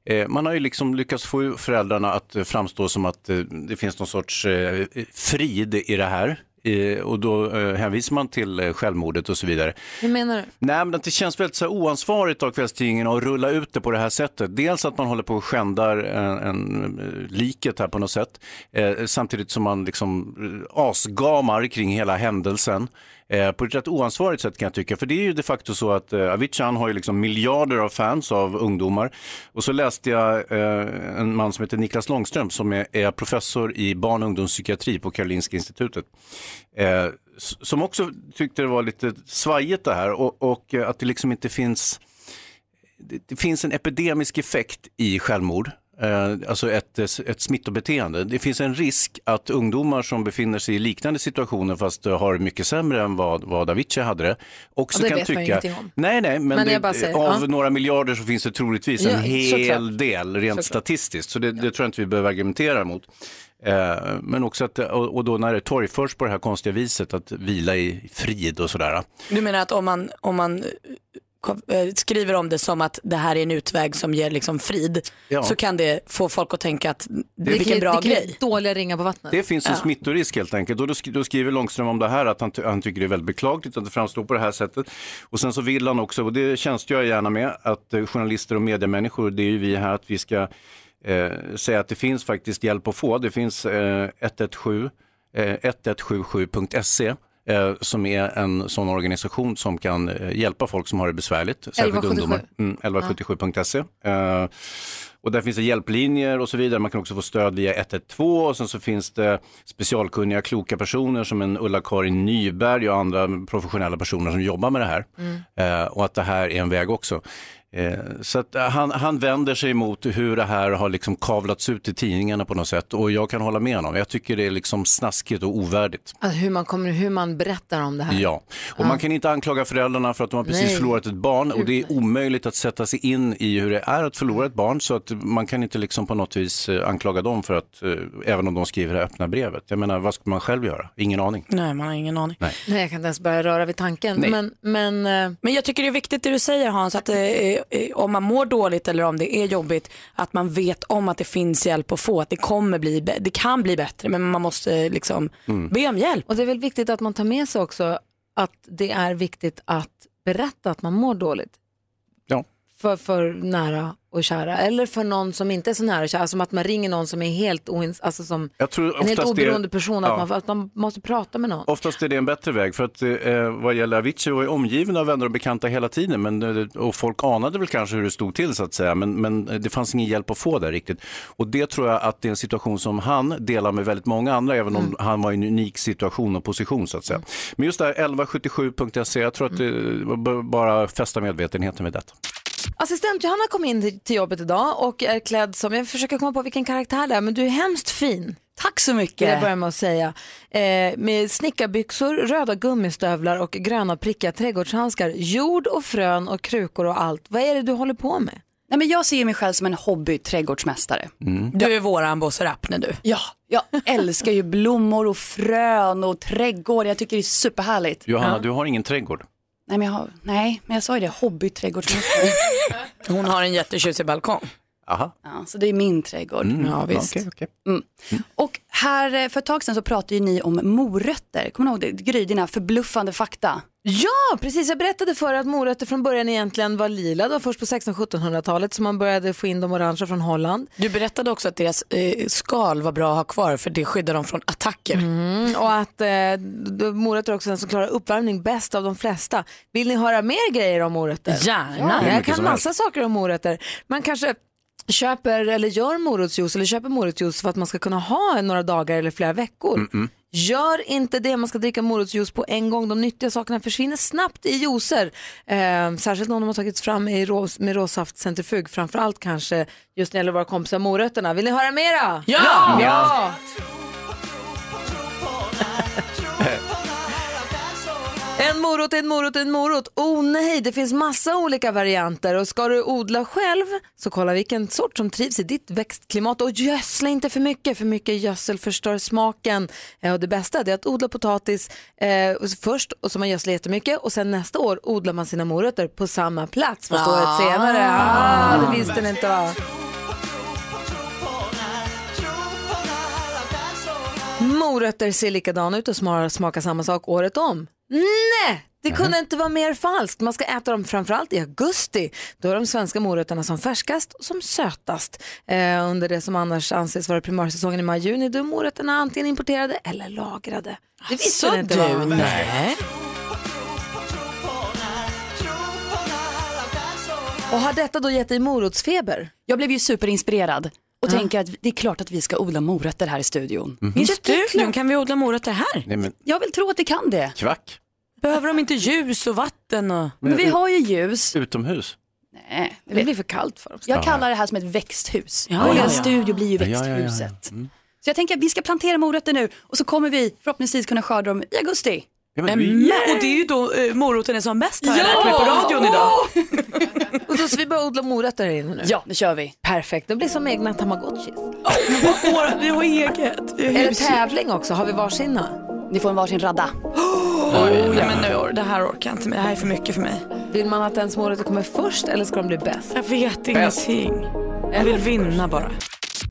C: eh, man har ju liksom lyckats få föräldrarna att eh, framstå som att eh, det finns någon sorts eh, frid i det här. Eh, och då eh, hänvisar man till eh, självmordet och så vidare.
A: Hur menar du?
C: Nej, men att det känns väldigt så här oansvarigt av kvällstidningen att rulla ut det på det här sättet. Dels att man håller på och skändar en, en, eh, liket här på något sätt, eh, samtidigt som man liksom eh, asgamar kring hela händelsen. Eh, på ett rätt oansvarigt sätt kan jag tycka, för det är ju de facto så att eh, Avicii han har ju liksom miljarder av fans av ungdomar. Och så läste jag eh, en man som heter Niklas Långström som är, är professor i barn och ungdomspsykiatri på Karolinska institutet. Eh, s- som också tyckte det var lite svajigt det här och, och eh, att det liksom inte finns, det, det finns en epidemisk effekt i självmord. Eh, alltså ett, eh, s- ett smittobeteende. Det finns en risk att ungdomar som befinner sig i liknande situationer fast eh, har det mycket sämre än vad, vad Avicii hade det. Också
A: Ja, det
C: kan
A: vet man
C: tycka,
A: ju ingenting om.
C: Nej, nej, men,
A: Men jag
C: det,
A: bara säger,
C: av
A: ja.
C: några miljarder så finns det troligtvis en
A: Ja,
C: hel
A: såklart.
C: del rent
A: Såklart.
C: statistiskt. Så det, det tror jag inte vi behöver argumentera mot. Eh, men också att, och och då när det torgförs på det här konstiga viset att vila i frid och sådär.
D: Du menar att om man, om man eh, kom- eh, skriver om det som att det här är en utväg som ger liksom frid
C: Ja.
D: så kan det få folk att tänka att
A: Det kan
D: vilken
A: ju-
D: bra
A: det kan ju
D: grej.
A: Dåliga ringar på vattnet.
C: Det finns en
A: Ja.
C: smittorisk helt enkelt. Och då, sk- då skriver Långström om det här att han, ty- han tycker det är väldigt beklagligt att det framstår på det här sättet. Och sen så vill han också, och det tjänstgör jag gärna med, att eh, journalister och mediemänniskor, det är ju vi här, att vi ska eh, säga att det finns faktiskt hjälp att få. Det finns eh, 117, eh, 1177.se eh, som är en sån organisation som kan eh, hjälpa folk som har det besvärligt, särskilt
A: 1177.
C: ungdomar. Mm, 1177.se. Eh, och där finns det hjälplinjer och så vidare. Man kan också få stöd via 112 och sen så finns det specialkunniga, kloka personer som en Ulla-Karin Nyberg och andra professionella personer som jobbar med det här. Eh, och att det här är en väg också. Eh, så att eh, han, han vänder sig emot hur det här har liksom kavlats ut i tidningarna på något sätt och jag kan hålla med honom. Jag tycker det är liksom snaskigt och ovärdigt.
A: Alltså, hur, man kommer, hur man berättar om det här.
C: Ja, och man kan inte anklaga föräldrarna för att de har precis
A: Nej.
C: förlorat ett barn och det är omöjligt att sätta sig in i hur det är att förlora ett barn så att man kan inte liksom på något vis eh, anklaga dem för att, eh, även om de skriver det här öppna brevet. Jag menar, vad ska man själv göra? Ingen aning.
D: Nej, man har ingen aning.
C: Nej.
A: Nej, jag kan inte ens börja röra vid tanken.
C: Nej.
A: Men, men, eh,
D: Men jag tycker det är viktigt det du säger Hans, att eh, eh, om man mår dåligt eller om det är jobbigt, att man vet om att det finns hjälp att få, att det kommer bli, bä- det kan bli bättre, men man måste eh, liksom be om hjälp.
A: Och det är väl viktigt att man tar med sig också att det är viktigt att berätta att man mår dåligt.
C: Ja.
A: För, för nära och kära. Eller för någon som inte är så nära och kära. Som att man ringer någon som är helt, oins, alltså som
C: Jag tror
A: en helt
C: oftast det-
A: oberoende person. Att,
C: Ja.
A: man, att man måste prata med någon.
C: Oftast är det en bättre väg för att eh, vad gäller Avicii var ju omgiven av vänner och bekanta hela tiden men, eh, och folk anade väl kanske hur det stod till så att säga men, men eh, det fanns ingen hjälp att få där riktigt. Och det tror jag att det är en situation som han delar med väldigt många andra även
B: Mm.
C: om han var i en unik situation och position så att säga.
B: Mm.
C: eh, Men just det här 1177.se, jag tror att det var bara fästa medvetenheten vid detta.
A: Assistent Johanna kom in till- till jobbet idag och är klädd som, jag försöker komma på vilken karaktär det är, men du är hemskt fin.
D: Tack så mycket.
A: Vill jag börja med att säga. Eh, med snickarbyxor, röda gummistövlar och gröna prickiga trädgårdshandskar. Jord och frön och krukor och allt. Vad är det du håller på med?
B: Nej, men jag ser mig själv som en hobby-trädgårdsmästare.
D: Du är våran Bosse Rappner du.
B: Ja, jag älskar ju blommor och frön och trädgård. Jag tycker det är superhärligt.
C: Johanna,
B: Ja.
C: du har ingen trädgård.
B: Nej, men jag, har... Nej, men jag sa ju det, hobby-trädgårdsmästare.
D: Hon har en jättetjusig balkong.
C: Aha.
B: Ja, så det är min trädgård.
D: Mm, Ja, visst. okej,
B: Mm. Och här eh, för ett tag sedan så pratade ju ni om morötter. Kommer ni ihåg det? Gry, dina förbluffande fakta.
A: Ja, precis. Jag berättade för att morötter från början egentligen var lila. Det var först på 1600-1700-talet som man började få in de orangea från Holland.
D: Du berättade också att deras eh, skal var bra att ha kvar för det skyddar dem från attacker.
A: Mm, och att eh, d- morötter är också den som klarar uppvärmning bäst av de flesta. Vill ni höra mer grejer om morötter?
D: Gärna. Hur
A: jag
D: mycket
A: kan
D: som
A: massa
D: helst.
A: saker om morötter. Man kanske köper eller gör morotsjuice eller köper morotsjuice för att man ska kunna ha en några dagar eller flera veckor. Gör inte det, man ska dricka morotsjuice på en gång. De nyttiga sakerna försvinner snabbt i juicer. Eh, särskilt om de har tagits fram i rås, med råsaftcentrifug, framförallt kanske just när det gäller våra kompisar morötterna. Vill ni höra mera?
D: Ja!
A: ja!
D: Ja.
A: En morot, en morot, en morot. Oh nej, det finns massa olika varianter och ska du odla själv så kolla vilken sort som trivs i ditt växtklimat och gödsla inte för mycket, för mycket gödsel förstör smaken. Eh, Och det bästa det är att odla potatis eh, först och så man gödslar jättemycket och sen nästa år odlar man sina morötter på samma plats fast året
D: Ah.
A: senare. Ah, det visste ni inte va? Morötter ser likadana ut och sma- smakar samma sak året om. Nej, det kunde inte vara mer falskt. Man ska äta dem framförallt i augusti. Då är de svenska morötterna som färskast och som sötast. Eh, under det som annars anses vara primärsäsongen i maj-juni då är morötterna antingen importerade eller lagrade. Det visste
D: Så
A: ni inte
D: du,
A: va?
D: nej.
A: Och har detta då gett dig morotsfeber?
B: Jag blev ju superinspirerad och tänker att det är klart att vi ska odla morötter här i studion.
C: Mhm.
B: I
D: studion, kan vi odla morötter här?
C: Nej, men
B: Jag vill tro att det kan det.
C: kvack. Eh,
D: Behöver de inte ljus och vatten? Och...
B: Men vi har ju ljus.
C: Utomhus.
B: Nej,
A: det blir för kallt för dem.
B: Jag
C: Ja.
B: kallar det här som ett växthus.
D: Ja,
B: Vår
D: ja, ja.
B: studio blir ju
C: Ja, ja, ja, Mm. ja.
B: växthuset. Så jag tänker att vi ska plantera morötter nu och så kommer vi förhoppningsvis kunna skörda dem i augusti.
C: Ja,
B: men
D: vi- Men- och det är ju då eh, moroten är som bäst har jag lärt mig på radion idag.
A: Och då ska vi börja odla morötter här inne nu?
B: Ja, nu kör vi.
A: Perfekt, de blir som egna tamagotchis.
D: vi har eget.
A: Är det tävling också? Har vi varsina?
B: Ni får en varsin radda.
D: Oh, ja, men nu, or- det här orkar jag inte med. Det här är för mycket för mig.
A: Vill man att ens morötter kommer först eller ska de bli bäst?
D: Jag vet ingenting. Jag vill vinna bara.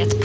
F: Ett